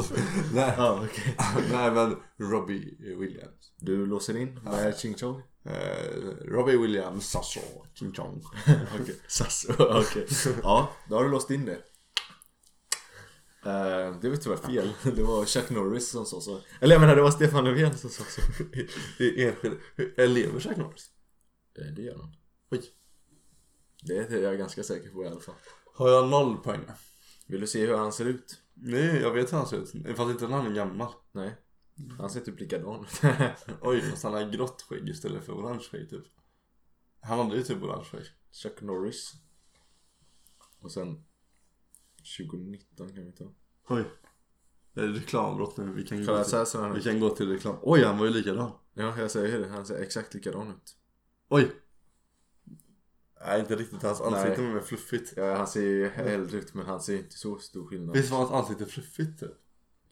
[SPEAKER 1] Nej,
[SPEAKER 2] Ja, okej.
[SPEAKER 1] nej men Robbie Williams.
[SPEAKER 2] Du låser in med Ching Chong?
[SPEAKER 1] Eh, Robbie Williams, alltså. Ching chong.
[SPEAKER 2] Okej. Sasso, okej. Ja, då har du låst in det. Eh, det var tyvärr fel. Det var Chuck Norris som sa så. Eller jag menar det var Stefan Löfven som sa så.
[SPEAKER 1] I Enskede. Lever Jack Norris?
[SPEAKER 2] Eh, Det gör han.
[SPEAKER 1] Oj.
[SPEAKER 2] Det är jag ganska säker på i alla fall.
[SPEAKER 1] Har jag noll poäng?
[SPEAKER 2] Vill du se hur han ser ut?
[SPEAKER 1] Nej, jag vet hur han ser ut. Fast inte när han är gammal.
[SPEAKER 2] Nej. Han ser typ likadan ut.
[SPEAKER 1] Oj, fast han har grått skägg istället för orange skägg typ. Han hade ju typ orange skägg.
[SPEAKER 2] Chuck Norris. Och sen 2019 kan vi ta.
[SPEAKER 1] Oj. Det är reklambrott nu. Vi kan,
[SPEAKER 2] Kolla,
[SPEAKER 1] gå
[SPEAKER 2] så
[SPEAKER 1] till,
[SPEAKER 2] här ser han
[SPEAKER 1] vi
[SPEAKER 2] ut.
[SPEAKER 1] kan gå till reklam. Oj, han var ju likadan.
[SPEAKER 2] Ja, jag säger det. Han ser exakt likadan ut.
[SPEAKER 1] Oj. Nej, inte riktigt. Hans ansikte
[SPEAKER 2] Nej.
[SPEAKER 1] var mer fluffigt.
[SPEAKER 2] Ja, han ser ju äldre ut men han ser inte så stor skillnad.
[SPEAKER 1] Visst var hans ansikte fluffigt typ?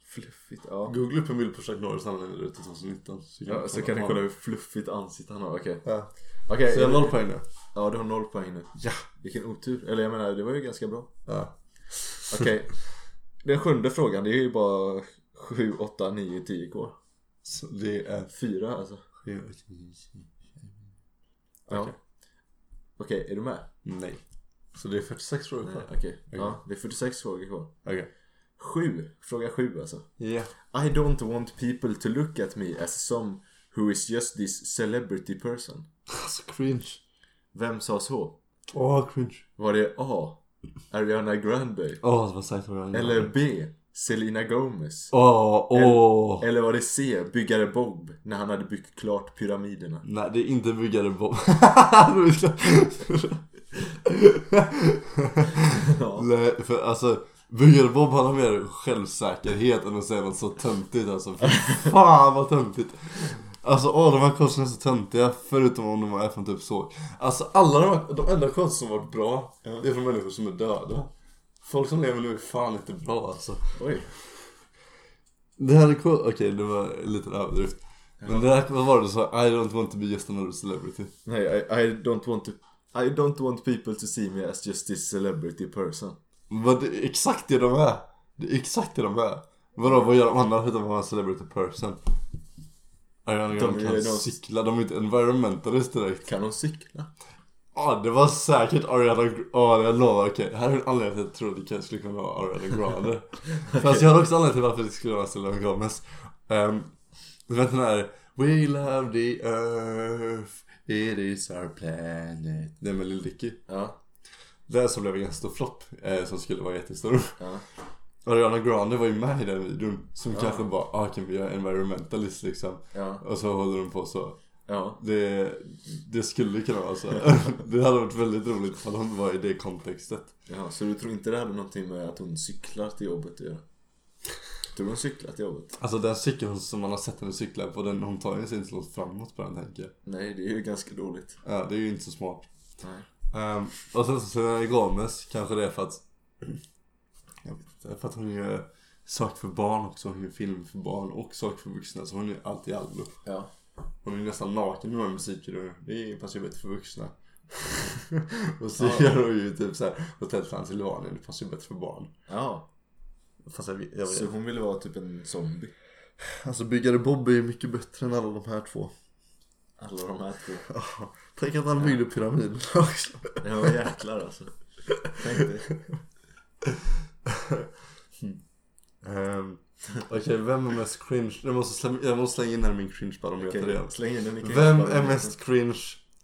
[SPEAKER 2] Fluffigt, ja.
[SPEAKER 1] Googla upp en bild på Chuck Norris när han är ute 2019.
[SPEAKER 2] ja så kan ni kolla hur fluffigt ansikte han har. Okej.
[SPEAKER 1] Ja.
[SPEAKER 2] Okej,
[SPEAKER 1] Så jag har noll poäng nu.
[SPEAKER 2] Ja, du har noll poäng nu.
[SPEAKER 1] Ja.
[SPEAKER 2] Vilken otur. Eller jag menar, det var ju ganska bra.
[SPEAKER 1] Ja.
[SPEAKER 2] Okej. Den sjunde frågan, det är ju bara 7, 8, 9, 10 kvar.
[SPEAKER 1] Så det är...
[SPEAKER 2] Fyra alltså. Ja.
[SPEAKER 1] Okej.
[SPEAKER 2] Okej, är du med?
[SPEAKER 1] Nej. Så det är 46 frågor
[SPEAKER 2] Nej,
[SPEAKER 1] kvar.
[SPEAKER 2] Okej. Ja, det är 46 frågor kvar.
[SPEAKER 1] Okej.
[SPEAKER 2] Sju. Fråga sju alltså.
[SPEAKER 1] Ja.
[SPEAKER 2] I don't want people to look at me as some who is just this celebrity person.
[SPEAKER 1] Alltså cringe.
[SPEAKER 2] Vem sa så?
[SPEAKER 1] Åh, cringe.
[SPEAKER 2] Var det A. Ariana Grande?
[SPEAKER 1] Åh, det var sajt vad jag
[SPEAKER 2] Eller B. Selena Gomez?
[SPEAKER 1] Åh, åh.
[SPEAKER 2] Eller var det C. Byggare Bob när han hade byggt klart pyramiderna?
[SPEAKER 1] Nej, det är inte byggare Bob.
[SPEAKER 2] Ja.
[SPEAKER 1] Nej, för alltså. Byggare Bob han har mer självsäkerhet än att säga något så töntigt alltså. Fy fan vad töntigt. Alltså åh, de här konsterna är så töntiga förutom om de är från typ så. Alltså alla de, här, de enda konster som varit bra, det är från människor som är döda. Folk som lever nu är fan inte bra alltså.
[SPEAKER 2] Oj.
[SPEAKER 1] Det här är cool. Okej, det var lite överdrift. Men det här, vad var det du sa? I don't want to be just another celebrity.
[SPEAKER 2] Nej, I, I don't want to... I don't want people to see me as just this celebrity person.
[SPEAKER 1] Vad det är exakt det de är! Det är exakt det de är! Vadå, vad gör de annars utan att vara en celebrity person? Ariana Grande
[SPEAKER 2] är
[SPEAKER 1] kan
[SPEAKER 2] de-
[SPEAKER 1] cykla, de är inte environmentalist direkt.
[SPEAKER 2] Kan de cykla?
[SPEAKER 1] Ja, det var säkert Ariana Grande. Ja, jag lovar. Okej, här är en anledning till att jag trodde det kanske skulle kunna vara Ariana Grande. Fast jag har också anledning till varför det skulle vara Selena Gomez. Um, du vet den här We love the earth, it is our planet. Det är med Lil Dicky.
[SPEAKER 2] Ja.
[SPEAKER 1] Det som blev en ganska stor flopp, eh, som skulle vara jättestor.
[SPEAKER 2] Ja.
[SPEAKER 1] Ariana Grande var ju med i den videon som kanske bara ah, kan vi göra environmentalist liksom?
[SPEAKER 2] Ja.
[SPEAKER 1] Och så håller de på så
[SPEAKER 2] Ja.
[SPEAKER 1] Det, det skulle kunna vara så. Det hade varit väldigt roligt ifall han var i det kontextet.
[SPEAKER 2] Jaha, så du tror inte det hade någonting med att hon cyklar till jobbet att göra? Tror du hon cyklar till jobbet?
[SPEAKER 1] Alltså den cykeln som man har sett henne cykla på, den, hon tar ju sig inte långt framåt på den tänker jag.
[SPEAKER 2] Nej, det är ju ganska dåligt.
[SPEAKER 1] Ja, det är ju inte så smart.
[SPEAKER 2] Nej.
[SPEAKER 1] Ehm, och sen så Selena Gomez, kanske det är för att... Jag vet inte, för att hon gör saker för barn också. Hon gör film för barn och saker för vuxna. Så hon är allt i allo.
[SPEAKER 2] Ja.
[SPEAKER 1] Hon är nästan naken i några musikvideor. Det passar ju bättre för vuxna. och så
[SPEAKER 2] Ja.
[SPEAKER 1] gör hon ju typ såhär Hotell Transylvanien. Det passar ju bättre för barn.
[SPEAKER 2] Ja.
[SPEAKER 1] Fast jag vet, jag
[SPEAKER 2] Så
[SPEAKER 1] vet.
[SPEAKER 2] hon ville vara typ en zombie?
[SPEAKER 1] Alltså Byggare Bobby är mycket bättre än alla de här två.
[SPEAKER 2] Alla de här två.
[SPEAKER 1] Tänk att han byggde pyramiderna också.
[SPEAKER 2] Ja, jäklar alltså. Tänk dig.
[SPEAKER 1] Ehm, Okej, vem är mest cringe? Jag måste, slänga, jag måste slänga in här min cringe-barometer
[SPEAKER 2] Okej,
[SPEAKER 1] igen.
[SPEAKER 2] släng in den i
[SPEAKER 1] Vem är mest cringe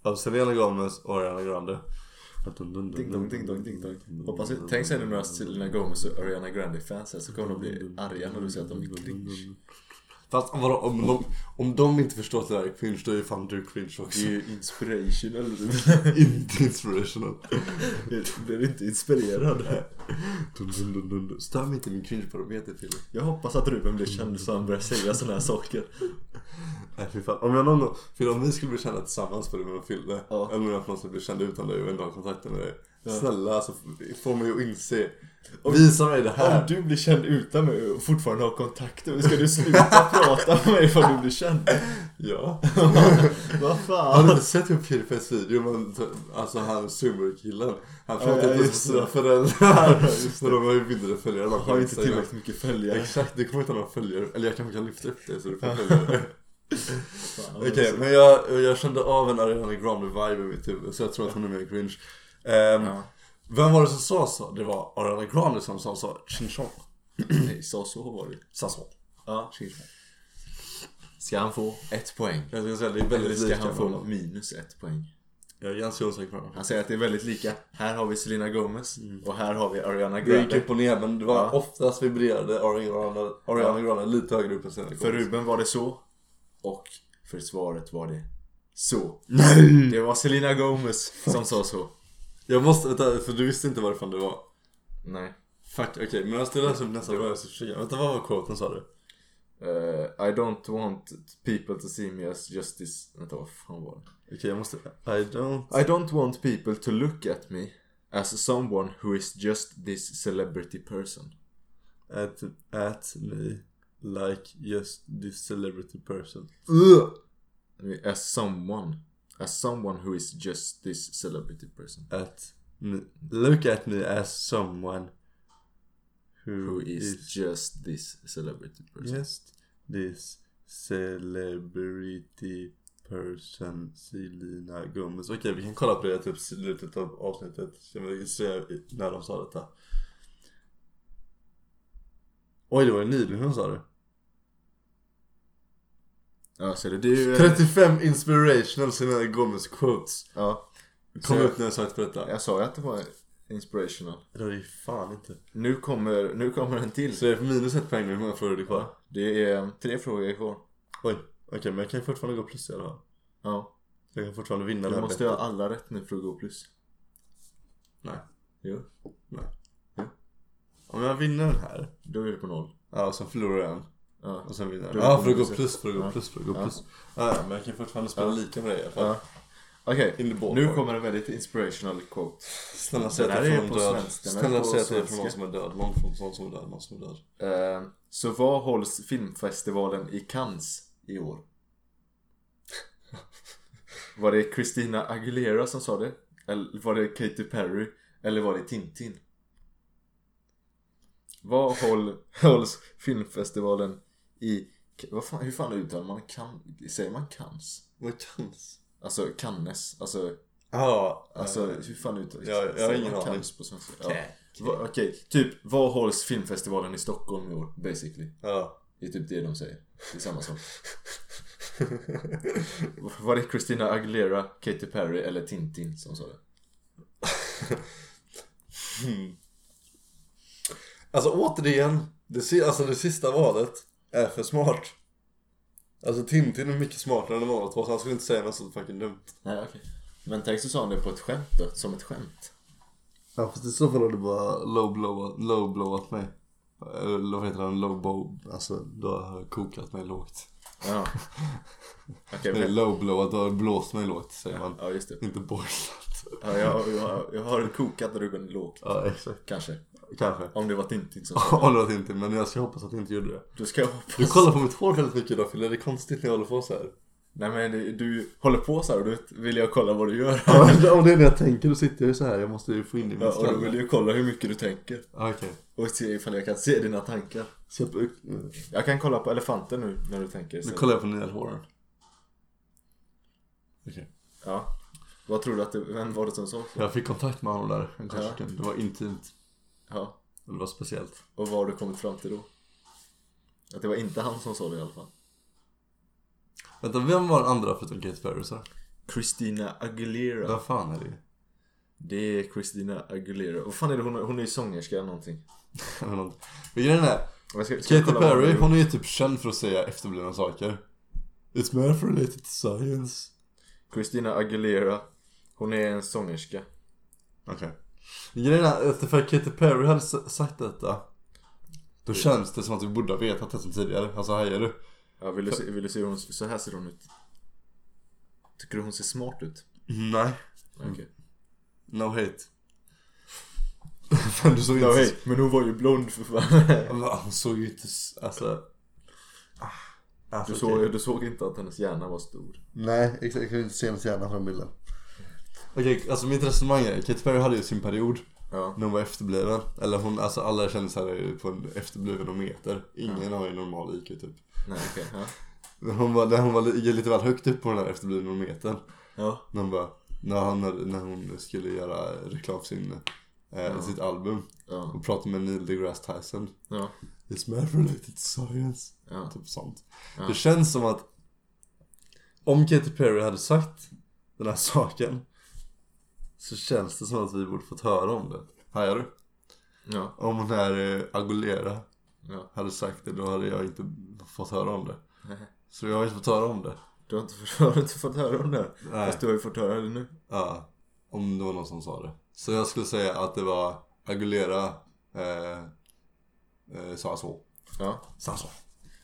[SPEAKER 1] av Selena Gomez och Ariana Grande?
[SPEAKER 2] Ding dong, ding dong, ding dong. Hoppas vi, tänk sig nu några Selena Gomez och Ariana Grande-fans här så kommer de bli arga när du säger att de är cringe.
[SPEAKER 1] Fast vadå, om de, om de inte förstår att det där är cringe, då är fan du cringe
[SPEAKER 2] Det
[SPEAKER 1] också.
[SPEAKER 2] är ju inspirational.
[SPEAKER 1] inte inspirational.
[SPEAKER 2] Blir inte inspirerad?
[SPEAKER 1] Dun, dun, dun, dun, dun. Stör mig inte i min cringe-barometer, Fille.
[SPEAKER 2] Jag hoppas att Ruben blir känd så han börjar säga sådana här saker.
[SPEAKER 1] Nej fy fan. Om jag någon gång, Fille om vi skulle bli kända tillsammans för det med en Fille.
[SPEAKER 2] Ja.
[SPEAKER 1] Eller om jag på något sätt blir känd utan dig och ändå har kontakten med dig. Snälla alltså, få mig att inse.
[SPEAKER 2] Om-
[SPEAKER 1] Visa mig det
[SPEAKER 2] Om
[SPEAKER 1] här.
[SPEAKER 2] du blir känd utan mig och fortfarande har kontakter, ska du sluta prata med mig ifall du blir känd?
[SPEAKER 1] Ja.
[SPEAKER 2] Vad
[SPEAKER 1] Har du
[SPEAKER 2] fan?
[SPEAKER 1] inte sett hur Pirpes video, man, alltså han sumo-killen. Han
[SPEAKER 2] Ja,
[SPEAKER 1] pratar
[SPEAKER 2] ja,
[SPEAKER 1] inte med
[SPEAKER 2] just
[SPEAKER 1] sina
[SPEAKER 2] det.
[SPEAKER 1] föräldrar.
[SPEAKER 2] Ja, just
[SPEAKER 1] Men de har ju mindre följare än man
[SPEAKER 2] Har
[SPEAKER 1] på
[SPEAKER 2] inte
[SPEAKER 1] Instagram.
[SPEAKER 2] tillräckligt mycket följare.
[SPEAKER 1] Exakt, du kommer inte ha några följare. Eller jag kanske kan lyfta upp det så du får följare.
[SPEAKER 2] Fan, vad
[SPEAKER 1] Okej,
[SPEAKER 2] mysigt.
[SPEAKER 1] men jag, jag kände av en Ariana Grande-vibe i mitt huvud. Så jag tror att hon är mer cringe. Ehm,
[SPEAKER 2] Ja.
[SPEAKER 1] Vem var det som sa så? Det var Ariana Grande som sa så. Chinchon.
[SPEAKER 2] Nej, sa så var det
[SPEAKER 1] Sa så.
[SPEAKER 2] Ja. Ska han få ett poäng?
[SPEAKER 1] Jag skulle säga det är
[SPEAKER 2] Eller
[SPEAKER 1] väldigt
[SPEAKER 2] ska
[SPEAKER 1] lika
[SPEAKER 2] han få
[SPEAKER 1] honom.
[SPEAKER 2] minus ett poäng?
[SPEAKER 1] Jag är ganska osäker på honom.
[SPEAKER 2] Han säger att det är väldigt lika. Här har vi Selena Gomez och här har vi Ariana
[SPEAKER 1] Det gick
[SPEAKER 2] Grande.
[SPEAKER 1] upp och ner men det var
[SPEAKER 2] Ja.
[SPEAKER 1] oftast vibrerade Ariana Grande, Ariana Grande lite högre upp än sina
[SPEAKER 2] För Ruben var det så. Och för svaret var det så.
[SPEAKER 1] Nej!
[SPEAKER 2] Det var Selena Gomez som sa så.
[SPEAKER 1] Jag måste, vänta, för du visste inte varifrån det var.
[SPEAKER 2] Nej.
[SPEAKER 1] Fuck, okej men jag ska läsa upp nästa gång jag ska försöka. Vänta vad var quoten sa du?
[SPEAKER 2] Eh, I don't want people to see me as justice... Vänta, vad fan var det?
[SPEAKER 1] Okej jag måste, I don't...
[SPEAKER 2] I don't want people to look at me as someone who is just this celebrity person.
[SPEAKER 1] At, at me like just this celebrity person.
[SPEAKER 2] As someone. As someone who is just this celebrity person.
[SPEAKER 1] At me, look at me as someone who,
[SPEAKER 2] Who is just this celebrity person.
[SPEAKER 1] just this celebrity person Selena Gomez. Okej, vi kan kolla på det typ slutet av avsnittet. Ska vi se när de sa detta. Oj, det var ju nyligen hon sa det.
[SPEAKER 2] Ja, ser du? Det är ju...
[SPEAKER 1] 35 inspirational Selena Gomez quotes.
[SPEAKER 2] Ja. Så
[SPEAKER 1] Kom
[SPEAKER 2] jag-
[SPEAKER 1] upp när jag sökte på detta.
[SPEAKER 2] Jag sa ju att det var inspirational.
[SPEAKER 1] Det var det ju fan inte.
[SPEAKER 2] Nu kommer, nu kommer en till.
[SPEAKER 1] Så jag är på minus ett poäng nu. Hur många frågor är det kvar?
[SPEAKER 2] Det är tre frågor kvar.
[SPEAKER 1] Oj, okej men jag kan fortfarande gå plus i alla fall.
[SPEAKER 2] Ja.
[SPEAKER 1] Jag kan fortfarande vinna det
[SPEAKER 2] Du
[SPEAKER 1] här
[SPEAKER 2] måste
[SPEAKER 1] bettet.
[SPEAKER 2] ha alla rätt nu för att gå plus.
[SPEAKER 1] Nej.
[SPEAKER 2] Jo.
[SPEAKER 1] Nej. Om jag vinner den här.
[SPEAKER 2] Då är du på noll.
[SPEAKER 1] Ja, och sen förlorar jag en.
[SPEAKER 2] Ja.
[SPEAKER 1] Och sen vinner
[SPEAKER 2] Då-
[SPEAKER 1] jag. Ja, för att gå
[SPEAKER 2] då-
[SPEAKER 1] plus, för att gå
[SPEAKER 2] ja.
[SPEAKER 1] plus, för att gå
[SPEAKER 2] Ja.
[SPEAKER 1] plus. Ja, ja, men jag kan fortfarande spela lika med dig i alla fall.
[SPEAKER 2] ja. Okej,
[SPEAKER 1] In the ballpark.
[SPEAKER 2] nu kommer en väldigt inspirational quote.
[SPEAKER 1] Snälla säg
[SPEAKER 2] Den
[SPEAKER 1] att
[SPEAKER 2] här
[SPEAKER 1] det är
[SPEAKER 2] är
[SPEAKER 1] från
[SPEAKER 2] på
[SPEAKER 1] en död.
[SPEAKER 2] svenska, den är
[SPEAKER 1] Snälla
[SPEAKER 2] på
[SPEAKER 1] säg att det är från
[SPEAKER 2] svenska.
[SPEAKER 1] någon som är död. Någon från någon som är död, någon som är död.
[SPEAKER 2] Eh, så vad hålls filmfestivalen i Cannes i år? Var det Christina Aguilera som sa det? Eller var det Katy Perry? Eller var det Tintin? Vad håll, hålls filmfestivalen i... Vad fan, hur fan uttalar man kan, Säger man Cannes?
[SPEAKER 1] Vad kans?
[SPEAKER 2] Alltså Cannes. Alltså,
[SPEAKER 1] Ja,
[SPEAKER 2] alltså
[SPEAKER 1] eh,
[SPEAKER 2] hur fan uttalar
[SPEAKER 1] Ja, jag har
[SPEAKER 2] säger
[SPEAKER 1] ingen
[SPEAKER 2] man
[SPEAKER 1] aning.
[SPEAKER 2] Cannes på svenska? Ja.
[SPEAKER 1] Okej.
[SPEAKER 2] Va- Okej, typ vad hålls filmfestivalen i Stockholm i år? Basically.
[SPEAKER 1] Ja.
[SPEAKER 2] Det är typ det de säger. Det är samma sak. Var det Christina Aguilera, Katy Perry eller Tintin som sa det?
[SPEAKER 1] Alltså återigen, det, si- alltså, det sista valet är för smart. Alltså Tintin är mycket smartare än Molotov så han skulle inte säga något så fucking dumt.
[SPEAKER 2] Nej, okej. Men tänk så sa han det på ett skämt då, som ett skämt.
[SPEAKER 1] Ja fast i så fall hade du bara low-blowat low blow mig. Eller vad heter han? Low-bow. Alltså då har jag kokat mig lågt.
[SPEAKER 2] Ja. Okej,
[SPEAKER 1] Nej
[SPEAKER 2] men...
[SPEAKER 1] low-blowat, då har jag blåst mig lågt säger man.
[SPEAKER 2] Ja, just det.
[SPEAKER 1] Inte boilat.
[SPEAKER 2] Ja, jag, jag, jag har kokat rubben lågt.
[SPEAKER 1] Ja exakt.
[SPEAKER 2] Kanske.
[SPEAKER 1] Kanske.
[SPEAKER 2] Om det var Tintin som
[SPEAKER 1] Ja det var Tintin men jag ska hoppas att du inte gjorde det.
[SPEAKER 2] Du ska jag
[SPEAKER 1] Du
[SPEAKER 2] hoppas.
[SPEAKER 1] kollar på mitt hår väldigt mycket idag Fille. Det är konstigt när jag håller på så här.
[SPEAKER 2] Nej men det- du håller på så här och då vill jag kolla vad du gör.
[SPEAKER 1] Ja, men om det är det jag tänker då sitter jag ju så här. Jag måste ju få in det i min
[SPEAKER 2] Ja, och då vill
[SPEAKER 1] skalle.
[SPEAKER 2] jag kolla hur mycket du tänker.
[SPEAKER 1] Ja, Ah, Okej.
[SPEAKER 2] Och se ifall jag kan se dina tankar.
[SPEAKER 1] Så jag-
[SPEAKER 2] Jag kan kolla på elefanten nu när du tänker.
[SPEAKER 1] Nu
[SPEAKER 2] Så.
[SPEAKER 1] kollar jag på Niall Horan. Okej.
[SPEAKER 2] Ja. Vad tror du att det, vem var det som sa så?
[SPEAKER 1] Jag fick kontakt med honom där. en kort sekund. Det var intimt.
[SPEAKER 2] Ja.
[SPEAKER 1] Det var speciellt.
[SPEAKER 2] Och vad har du kommit fram till då? Att det var inte han som sa det i alla fall.
[SPEAKER 1] Vänta, vem var den andra förutom Kate Perry så?
[SPEAKER 2] Christina Aguilera.
[SPEAKER 1] Vad fan är det?
[SPEAKER 2] Det är Christina Aguilera. Vad fan är det hon, hon är ju sångerska eller någonting.
[SPEAKER 1] Jag vet inte. Men grejen är,
[SPEAKER 2] Jag ska- ska
[SPEAKER 1] Katy
[SPEAKER 2] jag kolla vad
[SPEAKER 1] Perry
[SPEAKER 2] hon-
[SPEAKER 1] hon är ju typ känd för att säga efterblivna saker. It's math related to science.
[SPEAKER 2] Christina Aguilera. Hon är en sångerska.
[SPEAKER 1] Okej. Grejen är att ifall Katy Perry hade s- sagt detta.
[SPEAKER 2] Mm.
[SPEAKER 1] Då känns det som att vi borde ha vetat det som tidigare. Alltså hajar du?
[SPEAKER 2] Ja, vill du se, vill du se hur hon, så här ser hon ut? Tycker du hon ser smart ut?
[SPEAKER 1] Nej.
[SPEAKER 2] Okej.
[SPEAKER 1] No hate. Fan du såg
[SPEAKER 2] Ja,
[SPEAKER 1] inte...
[SPEAKER 2] hej, men hon var ju blond för fan.
[SPEAKER 1] Va, Hon såg ju inte... s- Alltså... Ah, Alltså,
[SPEAKER 2] Du
[SPEAKER 1] okej.
[SPEAKER 2] såg, du såg inte att hennes hjärna var stor.
[SPEAKER 1] Nej, exakt. Jag kunde inte se hennes hjärna från bilden. Okej, alltså mitt resonemang är Katy Perry hade ju sin period
[SPEAKER 2] Ja.
[SPEAKER 1] när hon var efterbliven. Eller hon, alltså alla kändisar är ju på en efterblivenometer. Ingen har ju normal IQ typ.
[SPEAKER 2] Nej, okej. Ja.
[SPEAKER 1] Men hon var, när hon var li- lite väl högt upp på den här efterblivenometern.
[SPEAKER 2] ja.
[SPEAKER 1] När hon bara, när, han, när, när hon skulle göra reklam för sin, eh, sitt album.
[SPEAKER 2] Ja.
[SPEAKER 1] Och pratade med Neil deGrasse Tyson.
[SPEAKER 2] Ja.
[SPEAKER 1] It's math related to science.
[SPEAKER 2] Ja.
[SPEAKER 1] Typ sånt.
[SPEAKER 2] Ja.
[SPEAKER 1] Det känns som att om Katy Perry hade sagt den här saken så känns det som att vi borde fått höra om det. Hajar du?
[SPEAKER 2] Ja.
[SPEAKER 1] Om hon här eh, Agolera
[SPEAKER 2] Ja.
[SPEAKER 1] hade sagt det då hade jag inte fått höra om det.
[SPEAKER 2] Nej.
[SPEAKER 1] Så jag har inte fått höra om det.
[SPEAKER 2] Du har inte, fått- har du inte fått höra om det här?
[SPEAKER 1] Nej.
[SPEAKER 2] Fast du har ju fått höra det nu.
[SPEAKER 1] Ja, om det var någon som sa det. Så jag skulle säga att det var Agolera eh, eh, sa så.
[SPEAKER 2] Ja.
[SPEAKER 1] Sa så.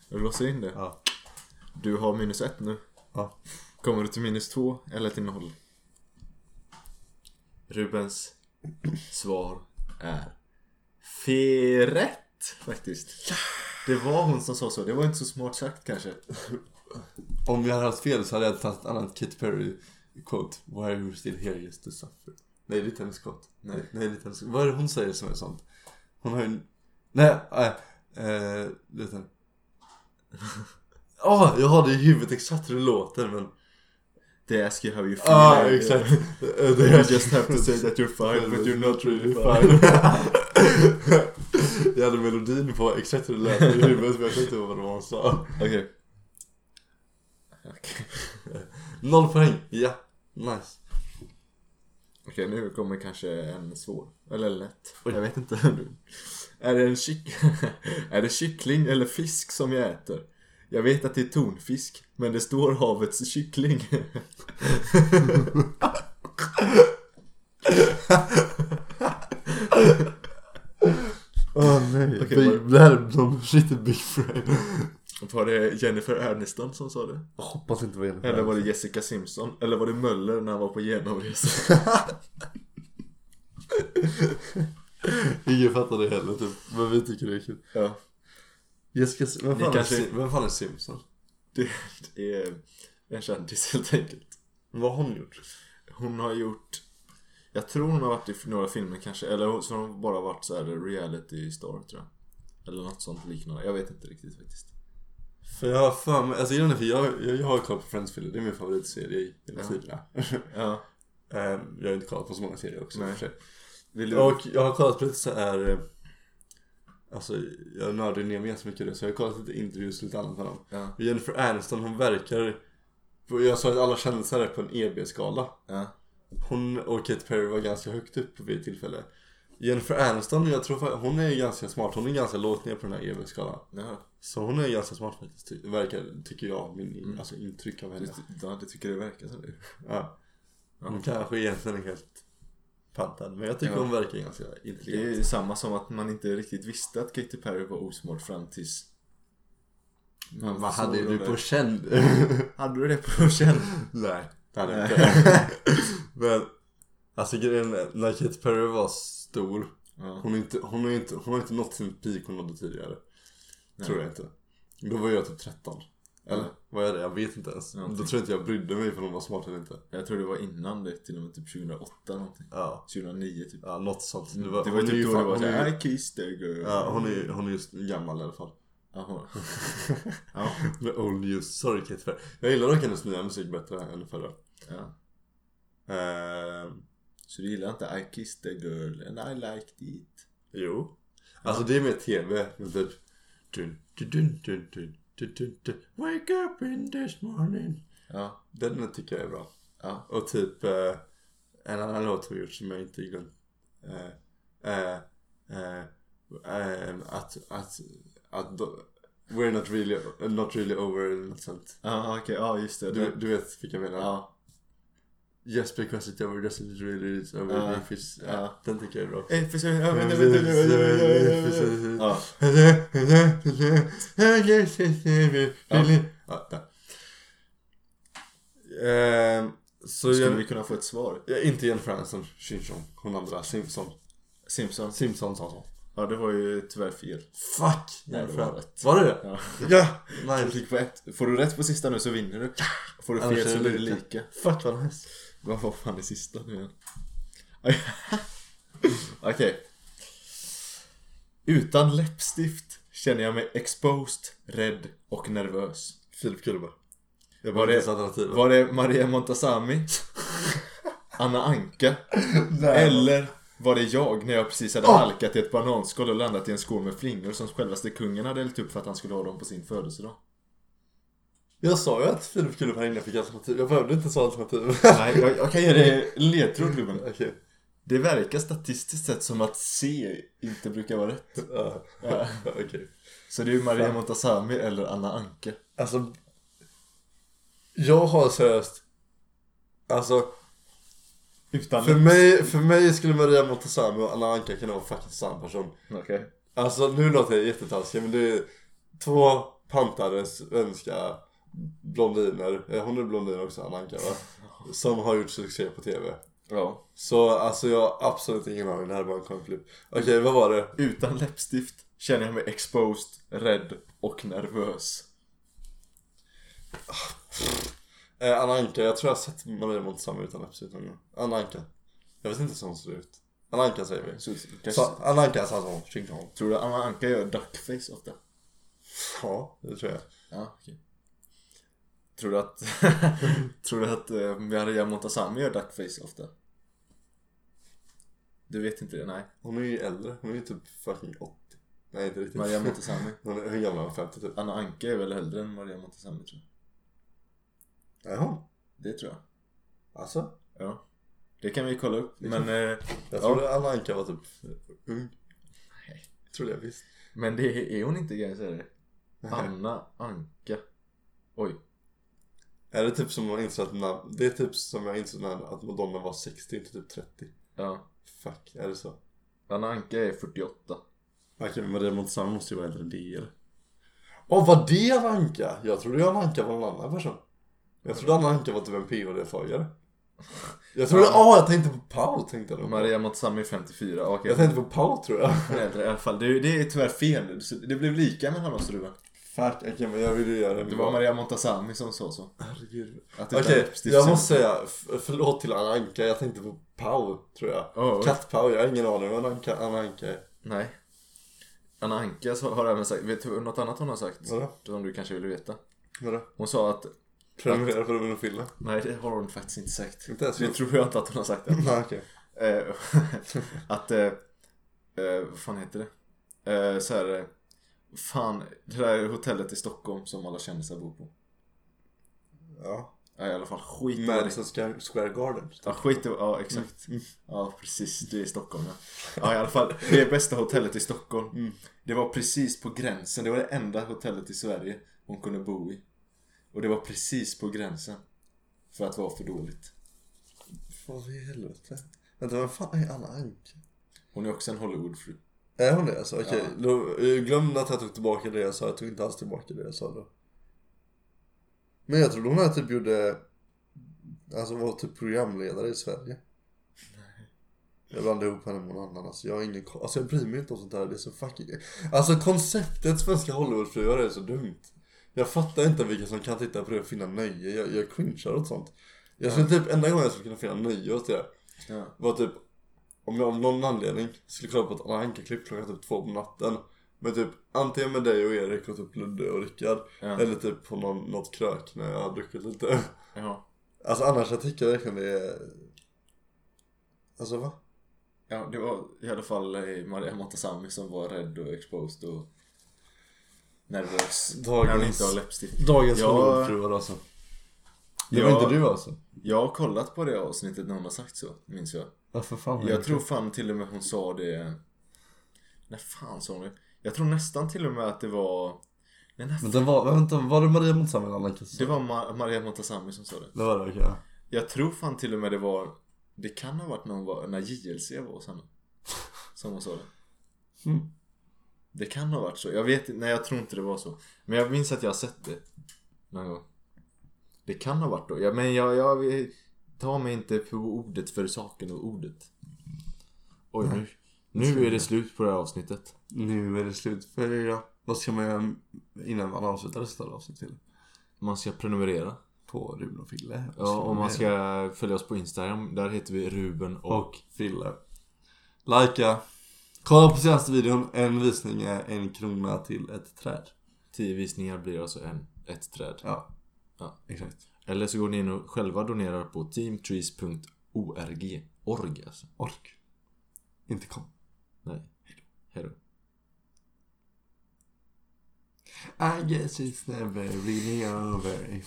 [SPEAKER 2] Jag låser in det.
[SPEAKER 1] Ja.
[SPEAKER 2] Du har minus ett nu.
[SPEAKER 1] Ja.
[SPEAKER 2] Kommer du till minus två eller till noll? Rubens svar är fel rätt faktiskt. Det var hon som sa så. Det var inte så smart sagt kanske.
[SPEAKER 1] Om vi hade haft fel så hade jag tagit ett annat Katy Perry quote Why are you still here just to suffer? Nej det är inte hennes quote
[SPEAKER 2] Nej.
[SPEAKER 1] Nej det är inte hennes Vad är det hon säger som är sånt? Hon har ju en- Nej, nej, eh, du vet inte Åh, jag har det i huvudet exakt hur det låter men
[SPEAKER 2] Det ask you how you feel.
[SPEAKER 1] Ah, exakt Eh, det
[SPEAKER 2] You
[SPEAKER 1] är-
[SPEAKER 2] just have to say that you're fine but you're not really fine.
[SPEAKER 1] Jag hade melodin på exakt hur det lät i huvudet men jag kunde inte ihåg vad det var hon sa
[SPEAKER 2] Okej. Okej.
[SPEAKER 1] Noll poäng, ja, nice
[SPEAKER 2] Okej, nu kommer kanske en svår. Eller lätt.
[SPEAKER 1] Oj.
[SPEAKER 2] Jag vet inte. är, det en kyck... är det kyckling eller fisk som jag äter? Jag vet att det är tonfisk, men det står havets kyckling.
[SPEAKER 1] Åh nej,
[SPEAKER 2] Okej,
[SPEAKER 1] big,
[SPEAKER 2] vad-
[SPEAKER 1] det här är någon riktigt big frame
[SPEAKER 2] Var det Jennifer Aniston som sa det?
[SPEAKER 1] Jag hoppas inte vad det
[SPEAKER 2] Eller var det Jessica Simpson? Eller var det Möller när han var på genomresa?
[SPEAKER 1] Ingen fattar det heller typ, men vi tycker det är kul
[SPEAKER 2] ja,
[SPEAKER 1] Jessica, vem
[SPEAKER 2] Ni
[SPEAKER 1] fan,
[SPEAKER 2] kanske-
[SPEAKER 1] är, Sim- vem fan är Simpson?
[SPEAKER 2] det, det är en kändis helt enkelt.
[SPEAKER 1] Vad har hon gjort?
[SPEAKER 2] Hon har gjort Jag tror hon har varit i några filmer kanske Eller hon- så har hon bara varit så här reality star tror jag Eller något sånt liknande Jag vet inte riktigt faktiskt
[SPEAKER 1] För jag har för mig, alltså grejen är för jag, jag, jag har koll på Friends Philly, det är min favoritserie i hela
[SPEAKER 2] Ja.
[SPEAKER 1] tiderna
[SPEAKER 2] Ja
[SPEAKER 1] Ehm, Jag har inte kollat på så många serier också
[SPEAKER 2] Nej.
[SPEAKER 1] i och för sig
[SPEAKER 2] Vill du?
[SPEAKER 1] Och jag har kollat på lite såhär eh, Alltså jag nördar ju ner mig så mycket i det så jag har kollat lite intervjuer och lite annat med dem
[SPEAKER 2] Ja,
[SPEAKER 1] Jennifer Aniston hon verkar Jag sa att alla kändisar är på en E EB-skala
[SPEAKER 2] ja,
[SPEAKER 1] Hon och Katy Perry var ganska högt upp vid ett tillfälle Jennifer Aniston, jag tror fa- hon är ju ganska smart, hon är ganska lågt ner på den här EV-skalan
[SPEAKER 2] ja,
[SPEAKER 1] E Så hon är ganska smart faktiskt, ty- verkar, tycker jag, min alltså, intryck av henne.
[SPEAKER 2] Du, ja, Mm. det tycker det verkar som det.
[SPEAKER 1] Ja. Hon kanske egentligen är helt pantad, men jag tycker
[SPEAKER 2] Ja.
[SPEAKER 1] hon verkar ganska
[SPEAKER 2] Det är
[SPEAKER 1] intelligent.
[SPEAKER 2] ju samma som att man inte riktigt visste att Katy Perry var osmart fram tills...
[SPEAKER 1] Men
[SPEAKER 2] Man
[SPEAKER 1] vad hade
[SPEAKER 2] såg
[SPEAKER 1] du
[SPEAKER 2] det.
[SPEAKER 1] på känn?
[SPEAKER 2] Hade du det på känn?
[SPEAKER 1] Nej, det hade jag
[SPEAKER 2] Nej.
[SPEAKER 1] inte. men, alltså grejen är, när Katy Perry var stor,
[SPEAKER 2] Ja.
[SPEAKER 1] hon, är inte, hon, är inte, hon har inte nått sin peak hon nådde tidigare. Tror jag inte. Då var jag typ 13. Eller
[SPEAKER 2] Ja.
[SPEAKER 1] var jag det? Jag vet inte ens.
[SPEAKER 2] Ja,
[SPEAKER 1] Då
[SPEAKER 2] okej.
[SPEAKER 1] tror jag inte jag brydde mig för om hon var smart eller inte.
[SPEAKER 2] Jag tror det var innan det, till och med typ 2008 någonting.
[SPEAKER 1] Ja,
[SPEAKER 2] 2009 typ.
[SPEAKER 1] ja något sånt.
[SPEAKER 2] Det var,
[SPEAKER 1] hon är
[SPEAKER 2] typ då
[SPEAKER 1] fan-
[SPEAKER 2] det var
[SPEAKER 1] hon är ju-
[SPEAKER 2] såhär, I kissed the girl.
[SPEAKER 1] Ja, hon är, hon är just gammal i alla fall.
[SPEAKER 2] Jaha. ja.
[SPEAKER 1] Med old news, sorry Katy Perry. Jag gillar dock hennes nya musik bättre än förra.
[SPEAKER 2] ja.
[SPEAKER 1] Eh,
[SPEAKER 2] Ehm, Så du gillar inte I kissed the girl and I liked it?
[SPEAKER 1] jo. Alltså det är mer TV, men typ... Dun, dun, dun, dun, dun, dun, dun, dun. Wake up in this morning.
[SPEAKER 2] Ja.
[SPEAKER 1] Den tycker jag är bra.
[SPEAKER 2] Ja.
[SPEAKER 1] Och typ eh, en annan låt har gjort som jag inte glömt. Eh, eh, eh, eh, att, att, att då, We're not really, not really over eller något sånt.
[SPEAKER 2] Ja, okej. Ja, just det.
[SPEAKER 1] Du,
[SPEAKER 2] Du,
[SPEAKER 1] du vet vilka jag menar?
[SPEAKER 2] ja.
[SPEAKER 1] Yes because it's over doesn't it really is over
[SPEAKER 2] Ja.
[SPEAKER 1] if it's,
[SPEAKER 2] Ja.
[SPEAKER 1] ja, Den tycker jag är bra.
[SPEAKER 2] Eh, precis. Ja, men-
[SPEAKER 1] Ja.
[SPEAKER 2] Ja.
[SPEAKER 1] Ja, där. Ehm, Så
[SPEAKER 2] Skulle
[SPEAKER 1] jag,
[SPEAKER 2] vi kunna få ett svar?
[SPEAKER 1] Ja, inte Jen Fransson, Shinshon, hon andra, Simpson.
[SPEAKER 2] Simpsons.
[SPEAKER 1] Simpson sa så.
[SPEAKER 2] Ja, det var ju tyvärr fel.
[SPEAKER 1] Fuck!
[SPEAKER 2] Nej, det var rätt.
[SPEAKER 1] Var det det?
[SPEAKER 2] Ja.
[SPEAKER 1] Ja! Nej.
[SPEAKER 2] Du fick på ett. Får du rätt på sista nu så vinner du. Får du
[SPEAKER 1] Annars
[SPEAKER 2] fel
[SPEAKER 1] är
[SPEAKER 2] så
[SPEAKER 1] det
[SPEAKER 2] blir det
[SPEAKER 1] lika.
[SPEAKER 2] lika.
[SPEAKER 1] Fuck vad nice.
[SPEAKER 2] Vad var fan det sista nu igen? Aj. Okej. Utan läppstift känner jag mig exposed, rädd och nervös.
[SPEAKER 1] Filip Kullberg. Jag
[SPEAKER 2] Var
[SPEAKER 1] var
[SPEAKER 2] det-
[SPEAKER 1] det alternativet.
[SPEAKER 2] Var det Maria Montazami? Anna Anka?
[SPEAKER 1] Nej.
[SPEAKER 2] Eller var det jag när jag precis hade
[SPEAKER 1] Ah!
[SPEAKER 2] halkat i ett bananskal och landat i en skål med flingor som självaste kungen hade hällt upp för att han skulle ha dem på sin födelsedag?
[SPEAKER 1] Jag sa ju att Filip Kullberg innan fick alternativ. Jag behövde inte så alternativ.
[SPEAKER 2] Nej, jag, jag kan ge dig ledtråd gubben.
[SPEAKER 1] Okej.
[SPEAKER 2] Det verkar statistiskt sett som att C inte brukar vara rätt.
[SPEAKER 1] Ja.
[SPEAKER 2] Ja.
[SPEAKER 1] Okej.
[SPEAKER 2] Så det är Maria
[SPEAKER 1] Fan.
[SPEAKER 2] Montazami eller Anna Anka.
[SPEAKER 1] Alltså. Jag har seriöst. Alltså
[SPEAKER 2] Utan
[SPEAKER 1] för mig, för mig skulle Maria Montazami och Anna Anka kunna vara fucking samma person.
[SPEAKER 2] Okej.
[SPEAKER 1] Alltså nu låter jag jättetaskig men det är två pantade svenska blondiner, eh, hon är blondin också, Anna Anka va? Som har gjort succé på TV.
[SPEAKER 2] Ja.
[SPEAKER 1] Så alltså jag har absolut ingen aning, det här är bara en konflikt. Okej, vad var det?
[SPEAKER 2] Utan läppstift känner jag mig exposed, rädd och nervös.
[SPEAKER 1] Eh, Anna Anka, jag tror jag har sett Maria Montazami utan läppstift någon gång. Anna Anka. Jag vet inte hur hon ser ut. Anna Anka säger vi.
[SPEAKER 2] Så, kanske,
[SPEAKER 1] Så, Anna Anka sa så, tjing tjong.
[SPEAKER 2] Tror du Anna Anka gör duckface ofta?
[SPEAKER 1] Ja, det tror jag.
[SPEAKER 2] Ja, okej. Tror du att, tror du att eh, Maria Montazami gör duckface ofta? Du vet inte det? Nej.
[SPEAKER 1] Hon är ju äldre, hon är ju typ fucking 80. Nej inte riktigt.
[SPEAKER 2] Maria Montazami.
[SPEAKER 1] Hon är, hur gammal är hon? 50 typ?
[SPEAKER 2] Anna Anka är väl äldre än Maria Montazami tror jag.
[SPEAKER 1] Är hon?
[SPEAKER 2] Det tror jag.
[SPEAKER 1] Alltså?
[SPEAKER 2] Ja. Det kan vi kolla upp. Men, eh,
[SPEAKER 1] Jag
[SPEAKER 2] Ja.
[SPEAKER 1] trodde Anna Anka var typ ung.
[SPEAKER 2] Nej.
[SPEAKER 1] Trodde jag visst.
[SPEAKER 2] men det är hon inte kan jag säga det.
[SPEAKER 1] Nej.
[SPEAKER 2] Anna Anka. Oj.
[SPEAKER 1] Är det typ som man insåg att namn, det är typ som jag insåg när att Madonna var 60, inte typ 30.
[SPEAKER 2] Ja.
[SPEAKER 1] Fuck, är det så?
[SPEAKER 2] Anna Anka är 48.
[SPEAKER 1] Okej men Maria Montazami måste ju vara äldre än det eller? Åh var det Anna Anka? Jag trodde ju Anna Anka var en annan person. Jag trodde Anna Anka var typ en PHD-flöjare. Jag trodde, åh jag tänkte på Pau tänkte jag då.
[SPEAKER 2] Maria Montazami är 54. Okej.
[SPEAKER 1] Jag tänkte på Pau tror jag.
[SPEAKER 2] Hon är äldre i alla fall. Det, det är tyvärr fel. Så Det blev lika mellan oss Ruben.
[SPEAKER 1] Fuck, okej men jag ville göra det.
[SPEAKER 2] Det var Maria Montazami som sa så.
[SPEAKER 1] Herregud.
[SPEAKER 2] Att det
[SPEAKER 1] Okej,
[SPEAKER 2] där stiftelsen-
[SPEAKER 1] jag måste säga f- förlåt till Anna Anka, jag tänkte på Pau tror jag.
[SPEAKER 2] Ja, oj.
[SPEAKER 1] Katt-Pau, jag har ingen aning om vad Anna Anka- Anna Anka är.
[SPEAKER 2] Nej. Anna Anka så- har även sagt, vet du något annat hon har sagt?
[SPEAKER 1] Vadå?
[SPEAKER 2] Som du kanske vill veta?
[SPEAKER 1] Vadå?
[SPEAKER 2] Hon sa att,
[SPEAKER 1] Prenumerera på Ruben och Fille?
[SPEAKER 2] nej det har hon faktiskt inte sagt.
[SPEAKER 1] Inte ens
[SPEAKER 2] Det tror jag inte att hon har sagt än.
[SPEAKER 1] Nej okej.
[SPEAKER 2] Eh, att, eh, eh, vad fan heter det? Eh, så här, eh, fan, det där hotellet i Stockholm som alla kändisar bor på.
[SPEAKER 1] Ja.
[SPEAKER 2] Ja, i alla fall skit i vad det-
[SPEAKER 1] Madison Mm, Square- Square Garden.
[SPEAKER 2] Ja, skit i, ja exakt. Ja, precis. Det är Stockholm ja. ja. i alla fall. Det är bästa hotellet i Stockholm.
[SPEAKER 1] Mm.
[SPEAKER 2] Det var precis på gränsen. Det var det enda hotellet i Sverige hon kunde bo i. Och det var precis på gränsen. För att vara för dåligt.
[SPEAKER 1] Vad i helvete? Vänta, vem fan är Anna Anka?
[SPEAKER 2] Hon är också en Hollywoodfru.
[SPEAKER 1] Är hon det alltså? Okej,
[SPEAKER 2] Ja.
[SPEAKER 1] då- eh, glöm att jag tog tillbaka det jag sa. Jag tog inte alls tillbaka det jag sa då. Men jag trodde hon här typ gjorde... Alltså var typ programledare i Sverige. Jag blandade ihop henne med någon annan. Alltså jag har ingen ko- Alltså jag bryr mig inte om sånt där. Det är så fucking... Alltså konceptet svenska Hollywoodfruar är så dumt. Jag fattar inte vilka som kan titta på det och finna nöje. Jag, jag cringear åt sånt. Jag skulle typ, enda gången jag skulle kunna finna nöje åt det
[SPEAKER 2] Ja.
[SPEAKER 1] var typ Om jag av någon anledning skulle kolla på ett Anna Anka-klipp klockan typ två på natten Men typ antingen med dig och Erik och typ Ludde och Rickard
[SPEAKER 2] Ja.
[SPEAKER 1] Eller typ på någon, något krök när jag har druckit lite
[SPEAKER 2] Ja.
[SPEAKER 1] Alltså annars jag tycker verkligen det är Alltså va?
[SPEAKER 2] ja, det var i alla fall eh, Maria Montazami som var rädd och exposed och nervös.
[SPEAKER 1] Dagens-
[SPEAKER 2] När hon inte har läppstift.
[SPEAKER 1] Dagens
[SPEAKER 2] Ja.
[SPEAKER 1] Hollywoodfruar alltså Det var
[SPEAKER 2] Ja.
[SPEAKER 1] inte du alltså?
[SPEAKER 2] Jag har kollat på det avsnittet när hon har sagt så, minns jag.
[SPEAKER 1] Ja för fan vad
[SPEAKER 2] Jag tror fan till och med hon sa det... När fan sa hon det? Jag tror nästan till och med att det var... Nej, när
[SPEAKER 1] Men
[SPEAKER 2] fan,
[SPEAKER 1] det var, vänta, var det Maria Montazami eller Anna Anka som sa
[SPEAKER 2] det var Ma- Maria Montazami som sa det.
[SPEAKER 1] Det var det okej ja.
[SPEAKER 2] Jag tror fan till och med det var... Det kan ha varit när, hon var, när JLC var hos henne. Som hon sa det.
[SPEAKER 1] Mm.
[SPEAKER 2] Det kan ha varit så. Jag vet inte- Nej, jag tror inte det var så. Men jag minns att jag har sett det. Någon gång. Det kan ha varit då. Ja, men jag... jag ta mig inte på ordet för saken och ordet. Oj, nu, nu är det slut på det här avsnittet.
[SPEAKER 1] Nu är det slut för idag Vad ska man göra innan man avslutar resten av avsnittet?
[SPEAKER 2] Man ska prenumerera.
[SPEAKER 1] På Ruben och Fille
[SPEAKER 2] Ja, och man ska följa oss på Instagram. Där heter vi Ruben och...
[SPEAKER 1] och Fille. Lajka. Kolla på senaste videon. En visning är en krona till ett träd.
[SPEAKER 2] Tio visningar blir alltså en, ett träd.
[SPEAKER 1] Ja.
[SPEAKER 2] Ja.
[SPEAKER 1] Exakt.
[SPEAKER 2] Eller så går ni in och själva donerar på teamtrees.org. Org alltså.
[SPEAKER 1] Ork. Inte kom.
[SPEAKER 2] Nej. Hejdå.
[SPEAKER 1] I guess it's never really over.